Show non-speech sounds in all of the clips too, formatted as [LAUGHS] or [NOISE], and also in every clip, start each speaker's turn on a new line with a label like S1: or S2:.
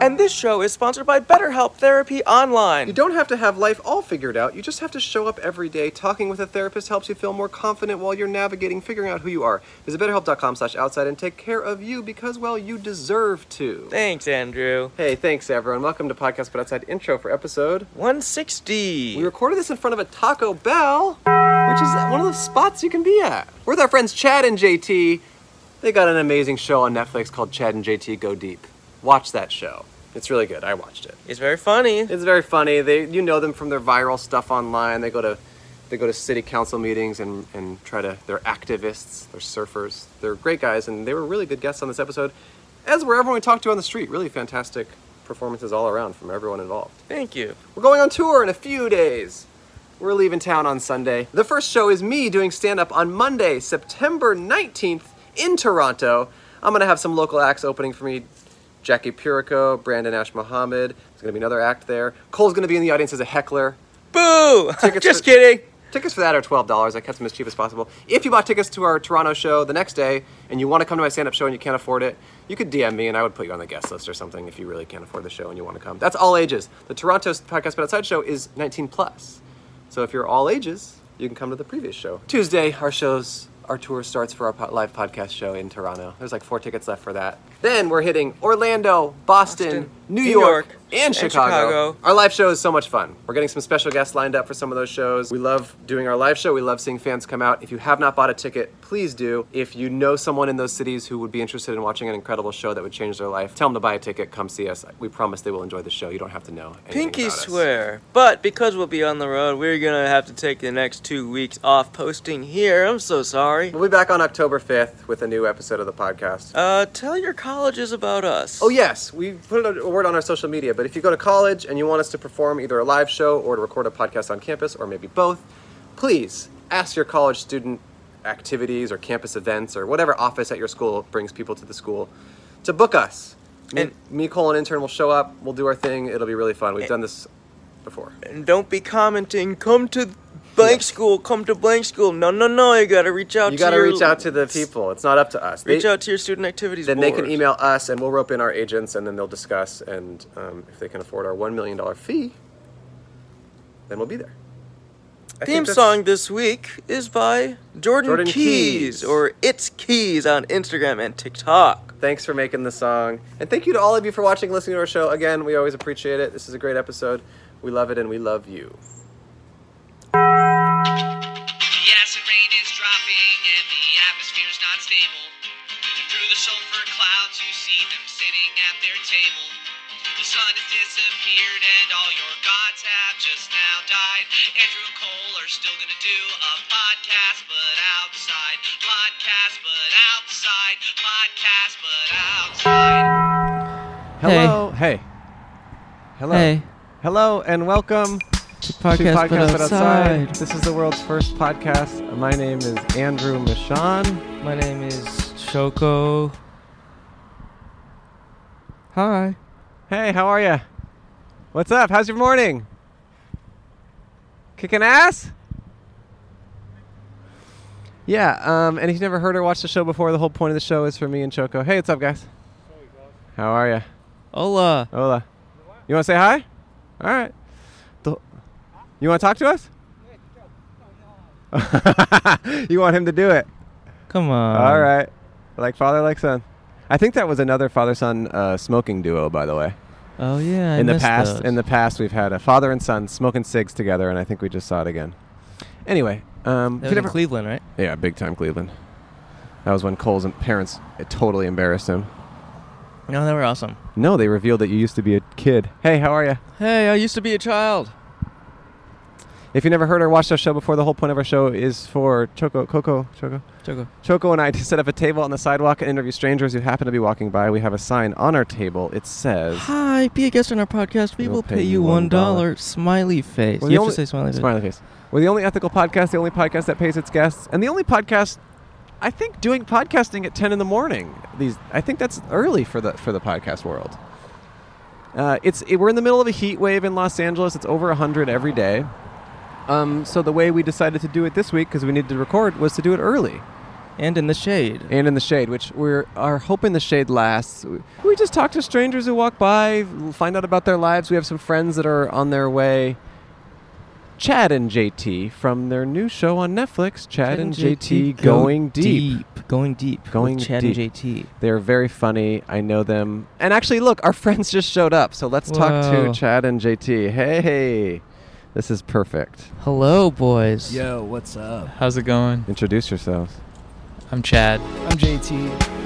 S1: And this show is sponsored by BetterHelp Therapy Online.
S2: You don't have to have life all figured out. You just have to show up every day. Talking with a therapist helps you feel more confident while you're navigating figuring out who you are. Visit betterhelp.com slash outside and take care of you because, well, you deserve to.
S1: Thanks, Andrew.
S2: Hey, thanks everyone. Welcome to Podcast But Outside intro for episode.
S1: 160.
S2: We recorded this in front of a Taco Bell, which is one of the spots you can be at. We're with our friends Chad and JT. They got an amazing show on Netflix called Chad and JT Go Deep. Watch that show. It's really good. I watched it.
S1: it's very funny.
S2: It's very funny. They you know them from their viral stuff online. They go to they go to city council meetings and, and try to they're activists, they're surfers. They're great guys and they were really good guests on this episode. As were everyone we talked to on the street. Really fantastic performances all around from everyone involved.
S1: Thank you.
S2: We're going on tour in a few days. We're leaving town on Sunday. The first show is me doing stand up on Monday, September 19th in Toronto. I'm going to have some local acts opening for me Jackie Purico, Brandon Ash Mohammed. There's going to be another act there. Cole's going to be in the audience as a heckler.
S1: Boo! [LAUGHS]
S2: Tickets
S1: Just
S2: for-
S1: kidding.
S2: Tickets for that are $12. I kept them as cheap as possible. If you bought tickets to our Toronto show the next day and you want to come to my stand up show and you can't afford it, you could DM me and I would put you on the guest list or something if you really can't afford the show and you want to come. That's all ages. The Toronto Podcast But Outside show is 19 plus. So if you're all ages, you can come to the previous show. Tuesday, our shows, our tour starts for our po- live podcast show in Toronto. There's like four tickets left for that. Then we're hitting Orlando, Boston,
S1: Boston,
S2: New,
S1: New York,
S2: York, and
S1: and
S2: Chicago.
S1: Chicago.
S2: Our live show is so much fun. We're getting some special guests lined up for some of those shows. We love doing our live show. We love seeing fans come out. If you have not bought a ticket, please do. If you know someone in those cities who would be interested in watching an incredible show that would change their life, tell them to buy a ticket. Come see us. We promise they will enjoy the show. You don't have to know. anything
S1: Pinky
S2: about us.
S1: swear. But because we'll be on the road, we're gonna have to take the next two weeks off posting here. I'm so sorry.
S2: We'll be back on October 5th with a new episode of the podcast.
S1: Uh, tell your colleges about us.
S2: Oh, yes, we put a a word on our social media, but if you go to college and you want us to perform either a live show or to record a podcast on campus, or maybe both, please ask your college student activities or campus events or whatever office at your school brings people to the school to book us. Me,
S1: And- Eh,
S2: me, Cole, and intern will show up, we'll do our thing, it'll be really fun. We've done this before.
S1: And don't be commenting. Come to blank school. Come to blank school. No, no, no. You gotta reach out.
S2: You
S1: to
S2: gotta
S1: your-
S2: reach out to the people, it's not up to us.
S1: Reach
S2: They-
S1: out to your student activities.
S2: then they
S1: board.
S2: can email us and we'll rope in our agents and then they'll discuss and um, if they can afford our $1 million fee then we'll be there I
S1: Theme
S2: think that's-
S1: song this week is by Jordan,
S2: Jordan
S1: Keys,
S2: Keys.
S1: or It's Keys on Instagram and TikTok.
S2: thanks for making the song and thank you to all of you for watching and listening to our show again we always appreciate it this is a great episode we love it and we love you
S3: Yes, and rain is dropping and the atmosphere's not stable. And through the sulfur clouds, you see them sitting at their table. The sun has disappeared and all your gods have just now died. Andrew and Cole are still gonna do a podcast, but outside. Podcast, but outside. Podcast, but outside.
S2: hello hey, hello
S4: Hey,
S2: hello and welcome
S4: to podcast,
S2: to podcast
S4: but outside.
S2: this is the world's first podcast my name is andrew michon
S4: My name is Shoko. Hi.
S2: hey how are you what's up how's your morning kicking ass Yeah, um, and if you've never heard or watched the show before, the whole point of the show is for me and Choco. Hey, what's up, guys? How are ya?
S4: Hola.
S2: Hola. You want to say hi? All right. The- you want to talk to us? [LAUGHS] you want him to do it?
S4: Come on.
S2: All right. Like father, like son. I think that was another father-son uh, smoking duo, by the way.
S4: Oh yeah. I
S2: in the
S4: missed
S2: past,
S4: those.
S2: in the past, we've had a father and son smoking cigs together, and I think we just saw it again. Anyway, um, if
S4: That was
S2: you
S4: in
S2: never-
S4: Cleveland, right?
S2: yeah, big time Cleveland. That was when Cole's parents uh, totally embarrassed him.
S4: No, they were awesome.
S2: No, they revealed that you used to be a kid. Hey, how are you?
S4: Hey, I used to be a child.
S2: If you never heard or watched our show before, the whole point of our show is for Choco, Coco, Choco,
S4: Shoko.
S2: Choco and I [LAUGHS] to set up a table on the sidewalk and interview strangers who happen to be walking by. We have a sign on our table. It says.
S4: Hi. Be a guest on our podcast. We
S2: We'll
S4: will pay, you one dollar. Smiley face.
S2: We're the
S4: you have
S2: only-
S4: to say smiley face.
S2: Smiley face. We're the only ethical podcast, the only podcast that pays its guests, and the only podcast, I think, doing podcasting at ten in the morning. These, I think that's early for the for the podcast world. Uh, it's it, we're in the middle of a heat wave in Los Angeles. It's over hundred every day. Um, so the way we decided to do it this week, because we needed to record, was to do it early.
S4: and in the shade.
S2: and in the shade, which we're are hoping the shade lasts. We just talk to strangers who walk by, find out about their lives. We have some friends that are on their way. Chad and JT from their new show on Netflix, Chad, and JT,
S4: go
S2: Going Deep.
S4: Going deep.
S2: Going
S4: with Chad
S2: deep.
S4: and JT.
S2: They're very funny. I know them. And actually, look, our [LAUGHS] friends just showed up. So let's talk to
S4: Whoa.
S2: Chad and JT. Hey, this is perfect.
S4: Hello, boys.
S5: Yo, what's up?
S6: How's it going?
S2: Introduce yourselves.
S6: I'm Chad.
S5: I'm JT.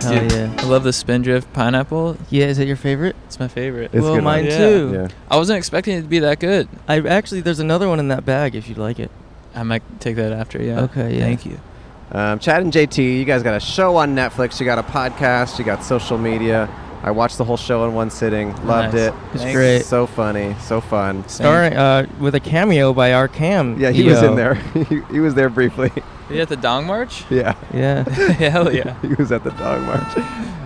S4: Hell
S6: Dude,
S4: yeah.
S6: I love the Spindrift pineapple.
S4: Yeah, is that your favorite?
S6: It's my favorite.
S2: It's
S4: well,
S2: good,
S4: mine
S6: huh?
S4: too.
S2: Yeah.
S6: I wasn't expecting it to be that good.
S4: I actually there's another one in that bag if you'd like it.
S6: I might take that after, yeah.
S4: Okay, yeah.
S6: Thank you.
S2: Um, Chad and JT, you guys got a show on Netflix. You got a podcast. You got social media. I watched the whole show in one sitting. Loved
S6: Nice.
S2: it.
S4: It's great.
S2: So funny. So fun.
S4: Starring uh, with a cameo by our Cam.
S2: Yeah, he was
S4: EO.
S2: in there. [LAUGHS] he, he was there briefly. [LAUGHS]
S6: Are you at the Dong March?
S2: yeah.
S4: Yeah.
S6: [LAUGHS] Hell Oh,
S2: [LAUGHS]
S6: yeah.
S2: he was at the dog march.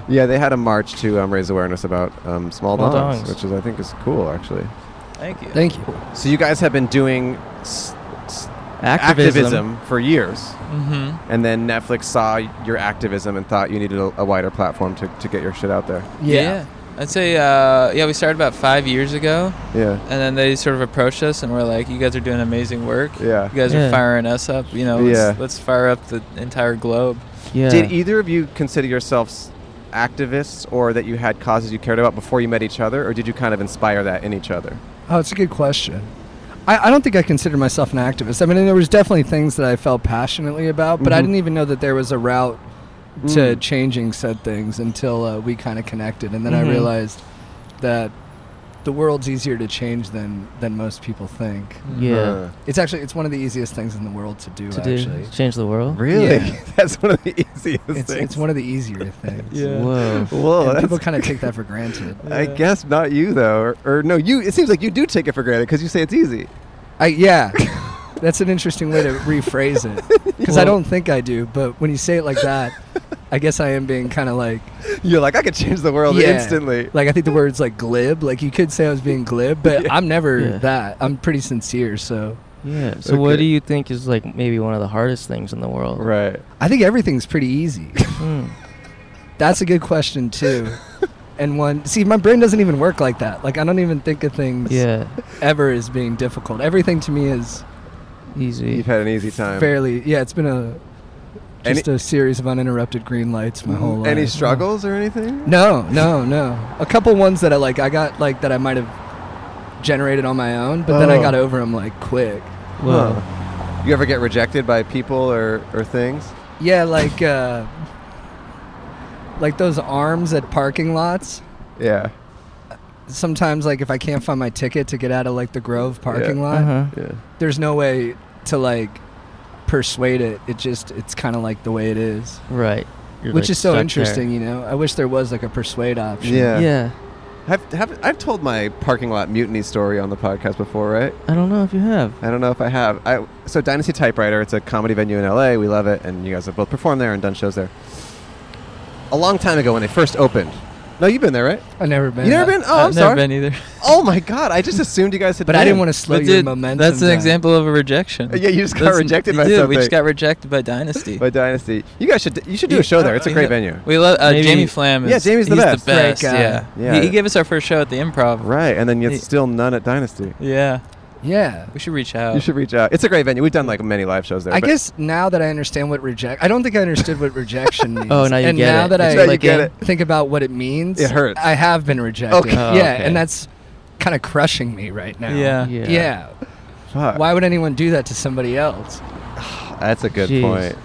S2: Yeah, they had a march to um, raise awareness about um, small,
S4: Small
S2: dogs,
S4: dogs.
S2: which is I think is cool actually.
S6: Thank you.
S5: Thank you.
S2: So you guys have been doing s- s-
S4: Activism.
S2: activism for years,
S6: hmm
S2: and then Netflix saw your activism and thought you needed a, a wider platform to, to get your shit out there.
S6: Yeah. I'd say, uh, yeah, we started about five years ago,
S2: Yeah,
S6: and then they sort of approached us and were like, you guys are doing amazing work.
S2: yeah.
S6: You guys
S4: Yeah.
S6: are firing us up. You know,
S2: Yeah.
S6: let's, let's fire up the entire globe.
S4: Yeah.
S2: Did either of you consider yourselves activists, or that you had causes you cared about before you met each other, or did you kind of inspire that in each other?
S5: Oh, it's a good question. I, I don't think I consider myself an activist. I mean, there was definitely things that I felt passionately about, but I
S4: Mm-hmm.
S2: Mhm.
S5: didn't even know that there was a route
S4: Mm.
S5: to changing said things until uh, we kind of connected, and then
S4: Mhm.
S5: I realized that the world's easier to change than than most people think.
S4: yeah.
S2: Uh,
S5: It's actually it's one of the easiest things in the world to do.
S4: Mm. to do
S5: actually,
S4: change the world.
S2: really?
S5: Yeah.
S2: [LAUGHS] That's one of the easiest
S5: it's,
S2: things.
S5: it's one of
S4: [LAUGHS]
S5: the easier things.
S2: [LAUGHS]
S4: Whoa.
S2: Whoa,
S5: And
S2: that's
S5: people kind of take that for
S4: [LAUGHS]
S5: granted. [LAUGHS]
S2: I guess not you though, or, or no, you. It seems like you do take it for granted because you say it's easy.
S5: I yeah. That's an interesting way to
S4: [LAUGHS]
S5: rephrase it because I
S4: Well-
S5: don't think I do, but when you say it like [LAUGHS] that, I guess I am being kind of like
S2: [LAUGHS] You're like, I could change the world
S5: Yeah.
S2: instantly.
S5: like I think the word's like glib. Like you could say I was being glib,
S2: [LAUGHS]
S5: but I'm never
S4: Yeah.
S5: that. I'm pretty sincere, so
S4: Yeah. So what
S2: Okay.
S4: do you think is like maybe one of the hardest things in the world?
S2: Right.
S5: I think everything's pretty easy.
S2: [LAUGHS]
S4: Hmm.
S5: That's a good question too. And one, see, my brain doesn't even work like that. Like I don't even think of things
S4: Yeah.
S5: ever as being difficult. Everything to me is
S2: [LAUGHS]
S4: Easy.
S2: You've had an easy time.
S5: fairly. Yeah, it's been a
S2: Any- Mm-hmm.
S5: just a series of uninterrupted green lights my whole life.
S2: Any struggles or anything?
S5: No, no, no. A couple ones that I like, I got like that I might have generated on my own, but then I
S2: Oh.
S5: got over them like quick.
S4: Whoa.
S2: Huh. You ever get rejected by people or, or things?
S5: Yeah, like uh, like those arms at parking lots.
S2: Yeah.
S5: Sometimes, like if I can't find my ticket to get out of like the Grove parking lot,
S4: Uh-huh.
S2: Yeah.
S5: there's no way to like persuade it. It just it's kind of like the way it is,
S4: Right. You're,
S5: which
S4: like,
S5: is so
S4: stuck there.
S5: interesting. You know, I wish there was like a persuade option.
S2: Yeah.
S4: yeah.
S2: Have, have, I've told my parking lot mutiny story on the podcast before, right?
S4: I don't know if you have.
S2: I don't know if I have. I so Dynasty Typewriter. It's a comedy venue in LA. We love it, and you guys have both performed there and done shows there. A long time ago, when they first opened. No, you've been there, right?
S5: I never been.
S2: You never been? Oh,
S6: Uh, I've
S2: I'm
S6: never
S2: sorry.
S6: been either.
S2: Oh my god! I just assumed you guys had.
S5: but I didn't want to slow
S6: But
S5: your
S6: dude,
S5: momentum.
S6: that's an
S5: down.
S6: example of a rejection.
S2: Yeah, you just got
S6: That's-
S2: rejected by
S6: dude,
S2: something.
S6: We just got rejected by Dynasty.
S2: By Dynasty, you guys should. You should do
S6: Yeah,
S2: a show there. It's a
S6: uh,
S2: great
S6: yeah.
S2: venue.
S6: We love uh,
S4: Maybe-
S6: Jamie Flam. Is,
S2: Yeah, Jamie's the
S6: he's
S2: best.
S6: The
S5: Great
S6: best.
S5: guy.
S6: Yeah,
S2: Yeah.
S6: He, he gave us our first show at the Improv.
S2: Right, and then you
S6: Yeah.
S2: still none at Dynasty.
S6: Yeah,
S5: Yeah.
S6: we should reach out.
S2: You should reach out. It's a great venue. We've done like many live shows there.
S5: I
S2: but-
S5: guess now that I understand what reject, I don't think I understood what rejection [LAUGHS] means.
S4: Oh, now you
S5: and
S4: get
S5: now
S4: it.
S5: that
S4: It's
S5: I
S2: Now you get it.
S5: think about what it means,
S2: It hurts.
S5: I have been rejected.
S2: Okay.
S4: Oh,
S5: yeah,
S4: okay.
S5: and that's kind of crushing me right now.
S6: Yeah.
S5: yeah.
S4: Yeah.
S2: Fuck.
S5: Why would anyone do that to somebody else?
S2: That's a good
S4: Jeez.
S2: point.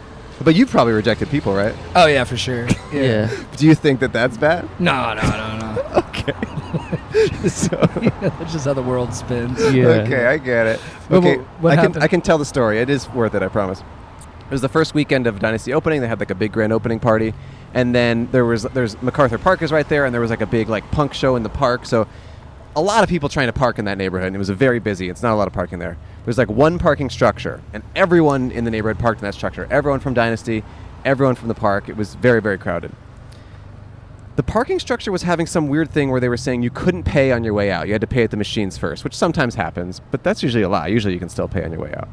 S2: But you probably rejected people, right?
S5: Oh yeah, for sure.
S4: [LAUGHS] Yeah.
S5: Yeah.
S2: Do you think that that's bad?
S5: No, no, no, no.
S2: [LAUGHS]
S5: [LAUGHS]
S2: Okay. so,
S5: That's just how the world spins.
S4: Yeah.
S2: Okay, I get it.
S5: But
S2: Okay,
S5: wh- what
S2: I can
S5: happened?
S2: I can tell the story. It is worth it, I promise. It was the first weekend of Dynasty opening. They had like a big grand opening party, and then there was there's MacArthur Park is right there, and there was like a big like punk show in the park. So a lot of people trying to park in that neighborhood, and it was very busy. It's not a lot of parking there. There's like one parking structure, and everyone in the neighborhood parked in that structure. Everyone from Dynasty, everyone from the park. It was very very crowded the parking structure was having some weird thing where they were saying you couldn't pay on your way out. You had to pay at the machines first, which sometimes happens, but that's usually a lie. Usually you can still pay on your way out.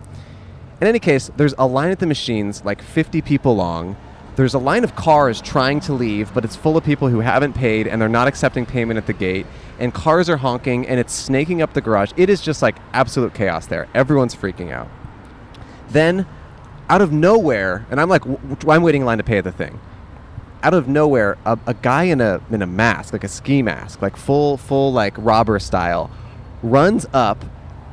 S2: In any case, there's a line at the machines, like 50 people long. There's a line of cars trying to leave, but it's full of people who haven't paid and they're not accepting payment at the gate. And cars are honking and it's snaking up the garage. It is just like absolute chaos there. Everyone's freaking out. Then, out of nowhere, and I'm like, w- w- I'm waiting in line to pay at the thing. Out of nowhere, a, a guy in a in a mask, like a ski mask, like full full like robber style, runs up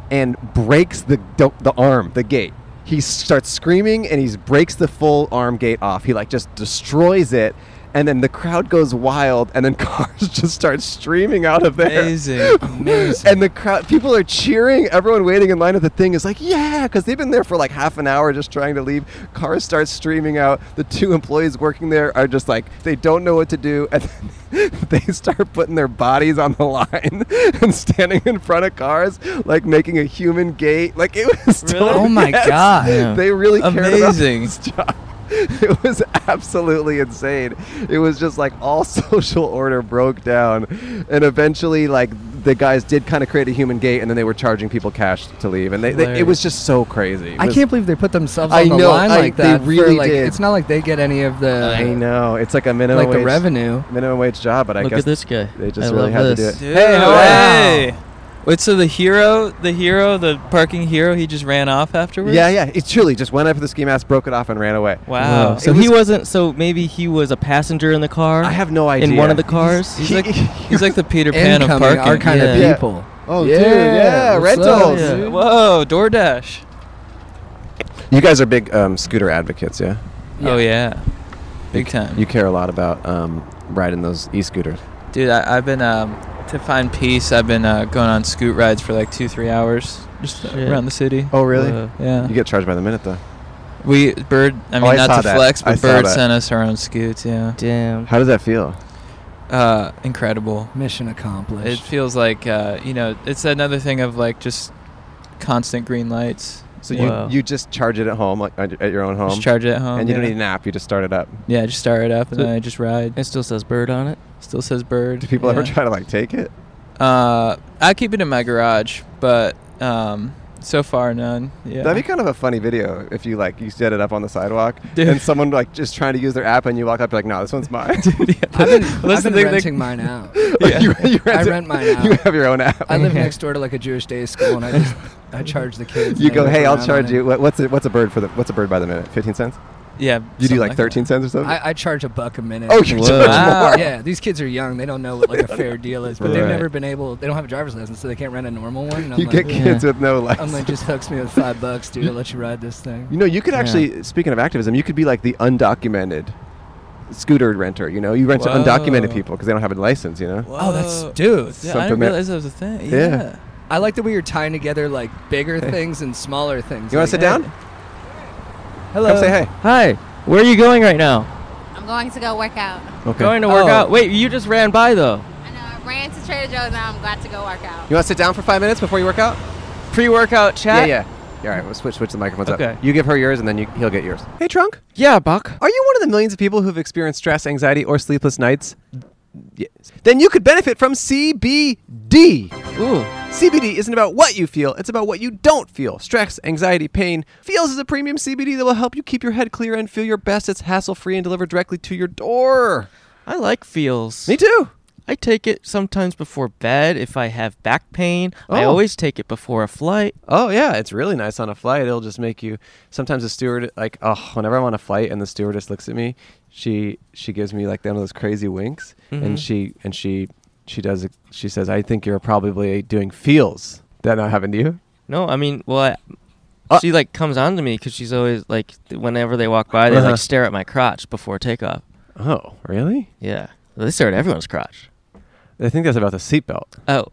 S2: and breaks the do- the arm, the gate. He starts screaming and he breaks the full arm gate off. He like just destroys it. And then the crowd goes wild, and then [LAUGHS] cars just start streaming out of there.
S6: Amazing. Amazing.
S2: And the crowd, people are cheering. Everyone waiting in line at the thing is like, yeah, because they've been there for like half an hour just trying to leave. Cars start streaming out. The two employees working there are just like, they don't know what to do. And [LAUGHS] then they start putting their bodies on the line [LAUGHS] and standing in front of cars, like making a human gate. Like it was.
S1: Really?
S2: [LAUGHS] totally-
S5: Oh my
S2: Yes.
S5: God.
S4: Yeah.
S2: They really cared about
S6: Amazing.
S2: this [LAUGHS] job. It was absolutely insane. It was just like all [LAUGHS] social order broke down, and eventually, like the guys did kind of create a human gate, and then they were charging people cash to leave, and they, they, it was just so crazy. It
S5: I
S2: was-
S5: can't believe they put themselves
S2: I
S5: on the
S2: know,
S5: line
S2: I-
S5: like
S2: they
S5: that. for,
S2: really
S5: like,
S2: did.
S5: It's not like they get any of
S2: I
S5: the
S2: know it's like a minimum
S5: like the
S2: wage-
S5: revenue.
S2: minimum wage job, but I
S4: Look
S2: guess
S4: at this guy.
S2: they just
S4: I
S2: really
S4: love
S2: had
S4: this.
S2: to do it.
S6: Hey,
S5: Wow.
S6: hey. Wait, so the hero, the hero, the parking hero, he just ran off afterwards?
S2: Yeah, yeah. It truly just went up to the ski mask, broke it off, and ran away.
S6: Wow.
S4: Wow. So
S2: It
S4: he
S2: was-
S4: wasn't. So maybe he was a passenger in the car.
S2: I have no idea.
S4: In one of the cars.
S6: He's
S2: [LAUGHS]
S6: like, he's like the Peter Pan of
S5: Incoming
S6: parking.
S5: are kind
S4: Yeah.
S5: of people.
S2: oh,
S5: Yeah,
S2: dude, yeah,
S5: what's
S2: rentals.
S5: up,
S4: Yeah.
S5: dude?
S6: Whoa, DoorDash.
S2: You guys are big um, scooter advocates, yeah?
S6: Oh yeah, big time.
S2: You care a lot about um, riding those e-scooters.
S6: Dude, I, I've been um, to find peace. I've been uh, going on scoot rides for like two, three hours, just
S4: Shit.
S6: around the city.
S2: Oh, really?
S4: Whoa.
S6: Uh, Yeah,
S2: You get charged by the minute, though.
S6: we bird. I mean,
S2: I
S6: not
S2: saw
S6: to
S2: that.
S6: flex,
S2: I
S6: but
S2: saw
S6: bird
S2: that.
S6: sent us our own scoots. Yeah,
S4: Damn.
S2: How does that feel?
S6: uh, incredible.
S5: Mission
S6: It
S5: accomplished.
S6: feels like uh, you know, it's another thing of like just constant green lights.
S2: So
S4: Wow.
S2: you you just charge it at home, like at at your own home,
S6: Just charge it at home.
S2: and you
S6: yeah.
S2: don't need an app. You just start it up.
S6: Yeah, just start it up and
S4: So-
S6: then I just ride.
S4: It still says bird on it.
S6: Still says bird.
S2: Do people ever
S6: yeah.
S2: try to like take it?
S6: Uh, I keep it in my garage, but um, so far none. Yeah.
S2: That'd be kind of a funny video if you like you set it up on the sidewalk
S6: Dude.
S2: and someone like just trying to use their app and you walk up, you're like, no, this one's
S6: [LAUGHS]
S2: mine. [LAUGHS]
S5: I've been,
S6: That's the
S5: I've been
S6: thing, they-
S5: renting mine out.
S2: Like, you, you
S5: I
S2: rent it-
S5: rent mine
S2: [LAUGHS]
S5: out.
S2: You have your own app.
S5: I live
S4: Yeah.
S5: next door to like a Jewish day school, and I just
S2: [LAUGHS]
S5: I charge the kids.
S2: you
S5: and I
S2: go,
S5: whip
S2: hey,
S5: around
S2: I'll
S5: on
S2: charge
S5: it."
S2: you. What, what's it, what's a bird for the what's a bird by the minute? Fifteen cents.
S6: yeah.
S2: You do
S6: something
S2: like
S6: that.
S2: thirteen cents or something.
S5: I, I charge a buck a minute. [LAUGHS]
S2: oh, you're
S4: Whoa.
S2: charging
S6: Wow.
S2: more.
S5: yeah, these kids are young. They don't know what like a fair deal is, but they've
S2: Right.
S5: never been able. They don't have a driver's license, so they can't rent a normal one. And I'm
S2: You get
S5: like,
S2: kids with no license.
S5: I'm like, just hooks me with five bucks, dude. I'll let you ride this
S2: You
S5: thing.
S2: know, you could
S4: Yeah.
S2: actually, speaking of activism, you could be like the undocumented scooter renter. You know, you rent to undocumented
S6: Whoa.
S2: people because they don't have a license. You know,
S5: Oh, that's
S2: uh,
S6: Whoa.
S5: dude.
S6: Yeah, I
S2: Something
S6: didn't
S2: that-
S6: realize that was a thing.
S2: Yeah.
S6: Yeah.
S5: I like the way you're tying together like bigger things and smaller things.
S2: you want to sit
S5: like,
S2: down?
S5: Hello.
S2: Come say hey.
S4: Hi. Where are you going right now?
S7: I'm going to go work out.
S2: Okay.
S4: Going to work
S5: Oh.
S4: out. Wait, you just ran by though.
S7: I know I ran to Trader Joe's. Now I'm glad to go work out.
S2: you want to sit down for five minutes before you work out?
S4: Pre-workout
S2: Yeah,
S4: chat.
S2: yeah. All right, we'll switch switch the microphones
S4: Okay.
S2: up. You give her yours, and then you, he'll get yours. Hey, trunk.
S4: Yeah, Buck.
S2: Are you one of the millions of people who've experienced stress, anxiety, or sleepless nights? Yes. Then you could benefit from CBD.
S4: Ooh.
S2: CBD isn't about what you feel, it's about what you don't feel. Stress, anxiety, pain. Feels is a premium CBD that will help you keep your head clear and feel your best. It's hassle free and delivered directly to your door.
S4: I like feels.
S2: Me too.
S4: I take it sometimes before bed if I have back pain. I
S2: Oh.
S4: always take it before a flight.
S2: Oh yeah, it's really nice on a flight. It'll just make you. Sometimes the steward, like, oh, whenever I'm on a flight and the stewardess looks at me, she she gives me like one of those crazy winks, and she and she she does it. She says, "I think you're probably doing feels." That not happened to you?
S4: No, I mean, well, I,
S2: Uh,
S4: she like comes on to me because she's always like, th- whenever they walk by, they
S2: Uh-huh.
S4: like stare at my crotch before takeoff.
S2: Oh, really?
S4: Yeah, they stare at everyone's crotch.
S2: I think that's about the seatbelt.
S4: Oh,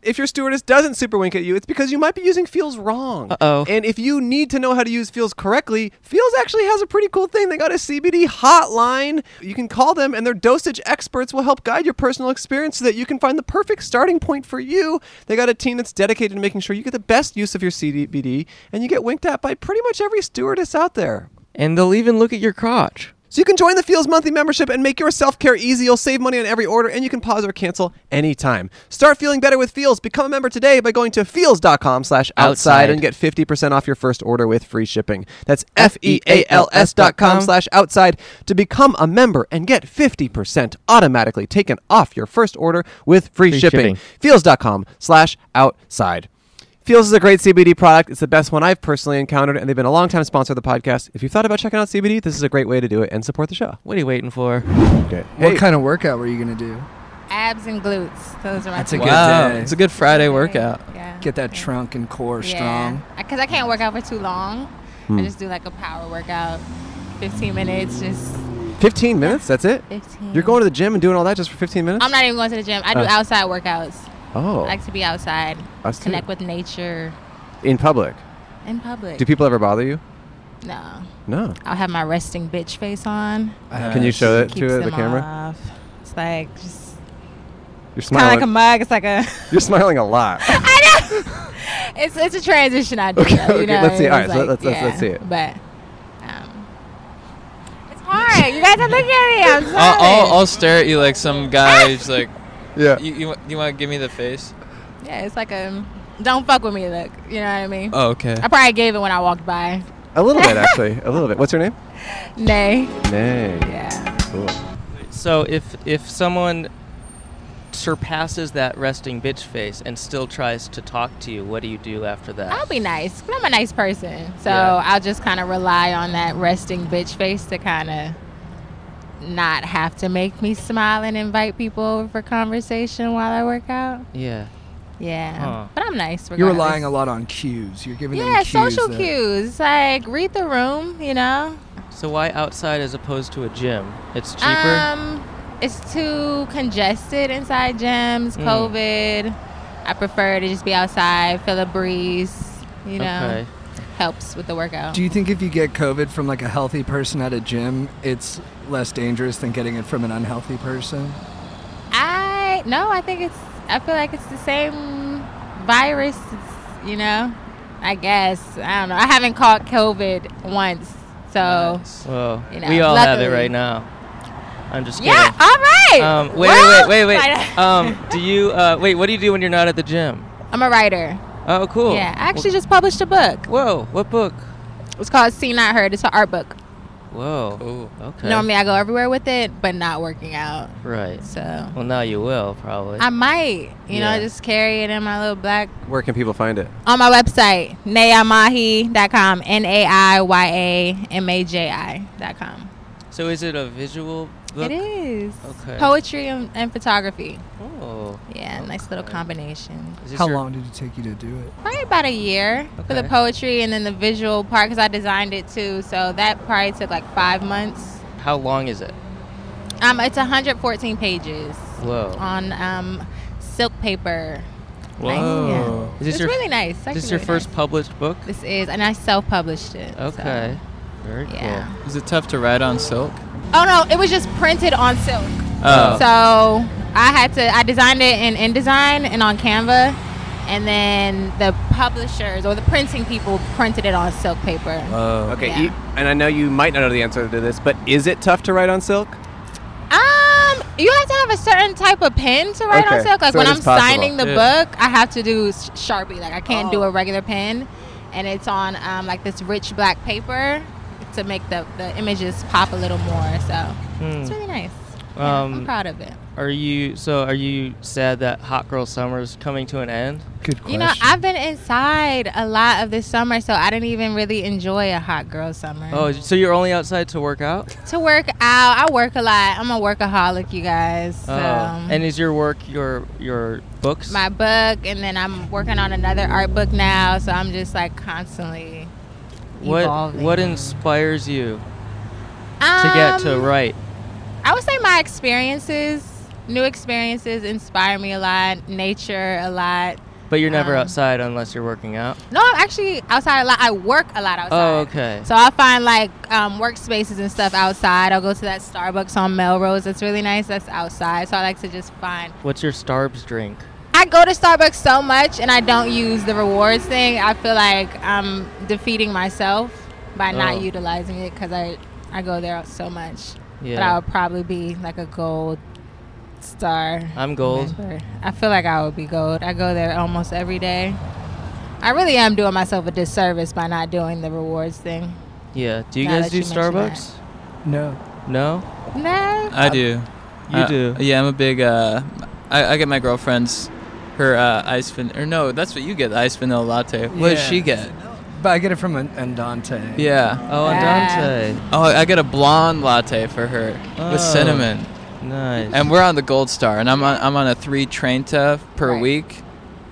S2: If your stewardess doesn't super wink at you, it's because you might be using feels wrong.
S4: Uh-oh.
S2: And if you need to know how to use feels correctly, feels actually has a pretty cool thing. They got a CBD hotline. You can call them, and their dosage experts will help guide your personal experience so that you can find the perfect starting point for you. They got a team that's dedicated to making sure you get the best use of your CBD, and you get winked at by pretty much every stewardess out there.
S4: and they'll even look at your crotch.
S2: So you can join the Feels monthly membership and make your self-care easy. You'll save money on every order and you can pause or cancel anytime. Start feeling better with Feels. Become a member today by going to feels.com slash outside
S4: Outside.
S2: and get 50% off your first order with free shipping. That's E F-E-A-L-S dot com slash outside to become a member and get 50% automatically taken off your first order with free,
S4: Free
S2: shipping.
S4: shipping.
S2: Feels.com slash outside. Feels is a great CBD product. It's the best one I've personally encountered, and they've been a long-time sponsor of the podcast. If you've thought about checking out CBD, this is a great way to do it and support the show.
S4: What are you waiting for?
S2: Okay.
S5: What kind of workout were you gonna do?
S7: Abs and glutes. Those are my
S5: That's
S7: two
S5: a good
S6: wow,
S5: day.
S6: it's a good Friday workout.
S7: Yeah.
S5: Get that trunk and core strong.
S7: Because I can't work out for too long. I just do like a power workout, 15 minutes, just
S2: 15 minutes? That's it?
S7: 15.
S2: You're going to the gym and doing all that just for 15 minutes?
S7: I'm not even going to the gym. I do
S2: Oh.
S7: outside workouts.
S2: oh,
S7: I like to be outside,
S2: Us too.
S7: connect with nature
S2: in public.
S7: in public.
S2: Do people ever bother you?
S7: no.
S2: No. Uh,
S7: I'll have my resting bitch face on.
S2: Can you show it
S7: Keeps
S2: to the
S7: them
S2: camera?
S7: off. It's like just
S2: You're
S7: kind of
S2: smiling.
S7: like a mug. It's like a.
S2: You're smiling a [LAUGHS] lot.
S7: I know. [LAUGHS] It's it's a transition I do.
S2: Okay,
S7: though, you
S2: okay,
S7: know,
S2: let's see.
S7: it's
S2: All right, so
S7: like-
S2: let's- let's- let's see it.
S7: But um, it's hard. You guys are looking at
S4: Uh,
S6: I'll,
S7: me. I'm sorry.
S6: I'll, I'll stare at you like some guy who's like,
S2: yeah.
S6: you, you, wa- you want to give me the face?
S7: yeah, it's like a don't fuck with me look. You know what I mean?
S4: Uh.
S6: Oh, okay.
S7: I probably gave it when I walked by.
S2: A little
S8: [LAUGHS]
S2: bit, actually. A little bit. What's your name?
S7: Nay.
S2: Nay.
S7: Yeah.
S2: Cool.
S4: So if if someone surpasses that resting bitch face and still tries to talk to you, what do you do after that?
S7: I'll be nice. 'cause I'm a nice person, so
S4: Yeah.
S7: I'll just kind of rely on that resting bitch face to kind of not have to make me smile and invite people over for conversation while I work out.
S4: yeah.
S7: Yeah,
S4: Huh.
S7: but I'm nice.
S5: You're relying a
S7: regardless.
S5: lot on cues. You're giving
S7: Yeah,
S5: them cues.
S7: social
S5: that-
S7: cues. Like read the room, you know.
S4: So why outside as opposed to a gym? It's cheaper.
S7: Um, it's too congested inside gyms.
S4: Mm.
S7: COVID. I prefer to just be outside, feel a breeze. You know,
S4: Okay.
S7: helps with the workout.
S5: Do you think if you get COVID from like a healthy person at a gym, it's less dangerous than getting it from an unhealthy person?
S7: I no, I think it's. I feel like it's the same virus. It's, you know, I guess I don't know. I haven't caught COVID once, so
S6: Oh.
S4: Well,
S7: You know,
S4: we all have it
S7: luckily-
S4: right now. I'm just
S7: yeah.
S4: kidding.
S7: All right.
S4: Um, wait,
S7: Well,
S4: wait, wait, wait,
S7: I-
S4: wait. um, do you uh, wait? What do you do when you're not at the gym?
S7: I'm a writer.
S4: Oh, cool.
S7: Yeah, I actually just published a book.
S4: Whoa, what book?
S7: It's called See Not Heard. It's an art book.
S4: Whoa.
S6: Ooh.
S4: Okay.
S7: Normally I go everywhere with it, but not working out.
S4: right.
S7: So
S4: Well, now you will probably.
S7: I might, you know,
S4: Yeah.
S7: just carry it in my little black
S2: Where can people find it?
S7: on my website, nayamahi.com, N A I Y A M A J I.com.
S4: so is it a visual book?
S7: It is.
S4: Okay.
S7: Poetry and, and photography.
S4: Oh.
S7: Yeah, nice little
S4: Okay.
S7: combination.
S4: Is this
S5: How
S4: your-
S5: long did it take you to do it?
S7: Probably about a year for the
S4: Okay.
S7: poetry and then the visual part because I designed it too. So that probably took like five months.
S4: How long is it?
S7: Um, it's 114 pages
S4: Whoa.
S7: on um, silk paper.
S4: Oh. Whoa.
S7: Nice, yeah.
S4: Is this
S7: it's
S4: your
S7: really nice. It's
S4: is this
S7: actually
S4: your
S7: really
S4: first
S7: nice.
S4: published book?
S7: This is, and I self-published it. so-
S4: Okay. Very
S7: Yeah.
S6: Is it tough to ride on silk?
S7: Oh no, it was just printed on silk.
S6: Oh.
S7: So I had to. I designed it in InDesign and on Canva, and then the publishers or the printing people printed it on silk paper.
S6: Oh.
S2: Okay,
S7: Yeah.
S2: e- and I know you might not know the answer to this, but is it tough to write on silk?
S7: Um, you have to have a certain type of pen to write on
S2: Okay,
S7: silk. Like
S2: so
S7: when
S2: it
S7: I'm
S2: is possible.
S7: signing the
S6: Yeah.
S7: book, I have to do s- Sharpie. Like I can't do a regular pen, and it's on um, like this rich black paper to make the, the images pop a little more. So it's really nice. Yeah, I'm
S4: Um,
S7: proud of it.
S4: Are you so? Are you sad that Hot Girl Summer is coming to an end?
S5: Good question.
S7: You know, I've been inside a lot of this summer, so I didn't even really enjoy a hot girl summer.
S4: Oh, so you're only outside to work
S7: [LAUGHS]
S4: out?
S7: To work out, I work a lot. I'm a workaholic, you guys. So.
S4: Oh. And is your work your your books?
S7: Um, my book and then I'm working on another art book now so I'm just like constantly
S4: what
S7: evolving.
S4: What inspires you to
S7: um,
S4: get to write?
S7: I would say my experiences new experiences inspire me a lot nature a lot
S4: But you're never
S7: um,
S4: outside unless you're working out.
S7: no I'm actually outside a lot I work a lot outside
S4: Oh, okay.
S7: so I'll find like um, workspaces and stuff outside I'll go to that Starbucks on Melrose that's really nice that's outside so I like to just find
S4: What's your Starbs drink?
S7: I go to Starbucks so much and I don't use the rewards thing. I feel like I'm defeating myself by
S4: Oh.
S7: not utilizing it because I I go there so much. But um,
S4: Yeah.
S7: I would probably be like a gold star.
S4: I'm Uh, gold.
S7: member. I feel like I would be gold. I go there almost every day. I really am doing myself a disservice by not doing the rewards thing.
S4: Yeah. Do you
S7: Now
S4: guys
S7: that
S4: do
S7: you mention that.
S4: Starbucks?
S5: No.
S4: No.
S7: No.
S6: I do.
S4: You
S6: Uh,
S4: do.
S6: Yeah, I'm a big. Uh, I, I get my girlfriend's her uh, ice van or no, that's what you get the ice vanilla latte. What does
S5: Yeah.
S6: she get?
S5: But I get it from an Andante.
S6: Yeah.
S4: Oh,
S7: Yeah.
S4: Andante.
S6: Oh, I get a blonde latte for her
S4: Oh.
S6: with cinnamon,
S4: Nice.
S6: and we're on the Gold Star, and I'm on I'm on a three Trenta per
S7: Right. Mm-hmm.
S6: week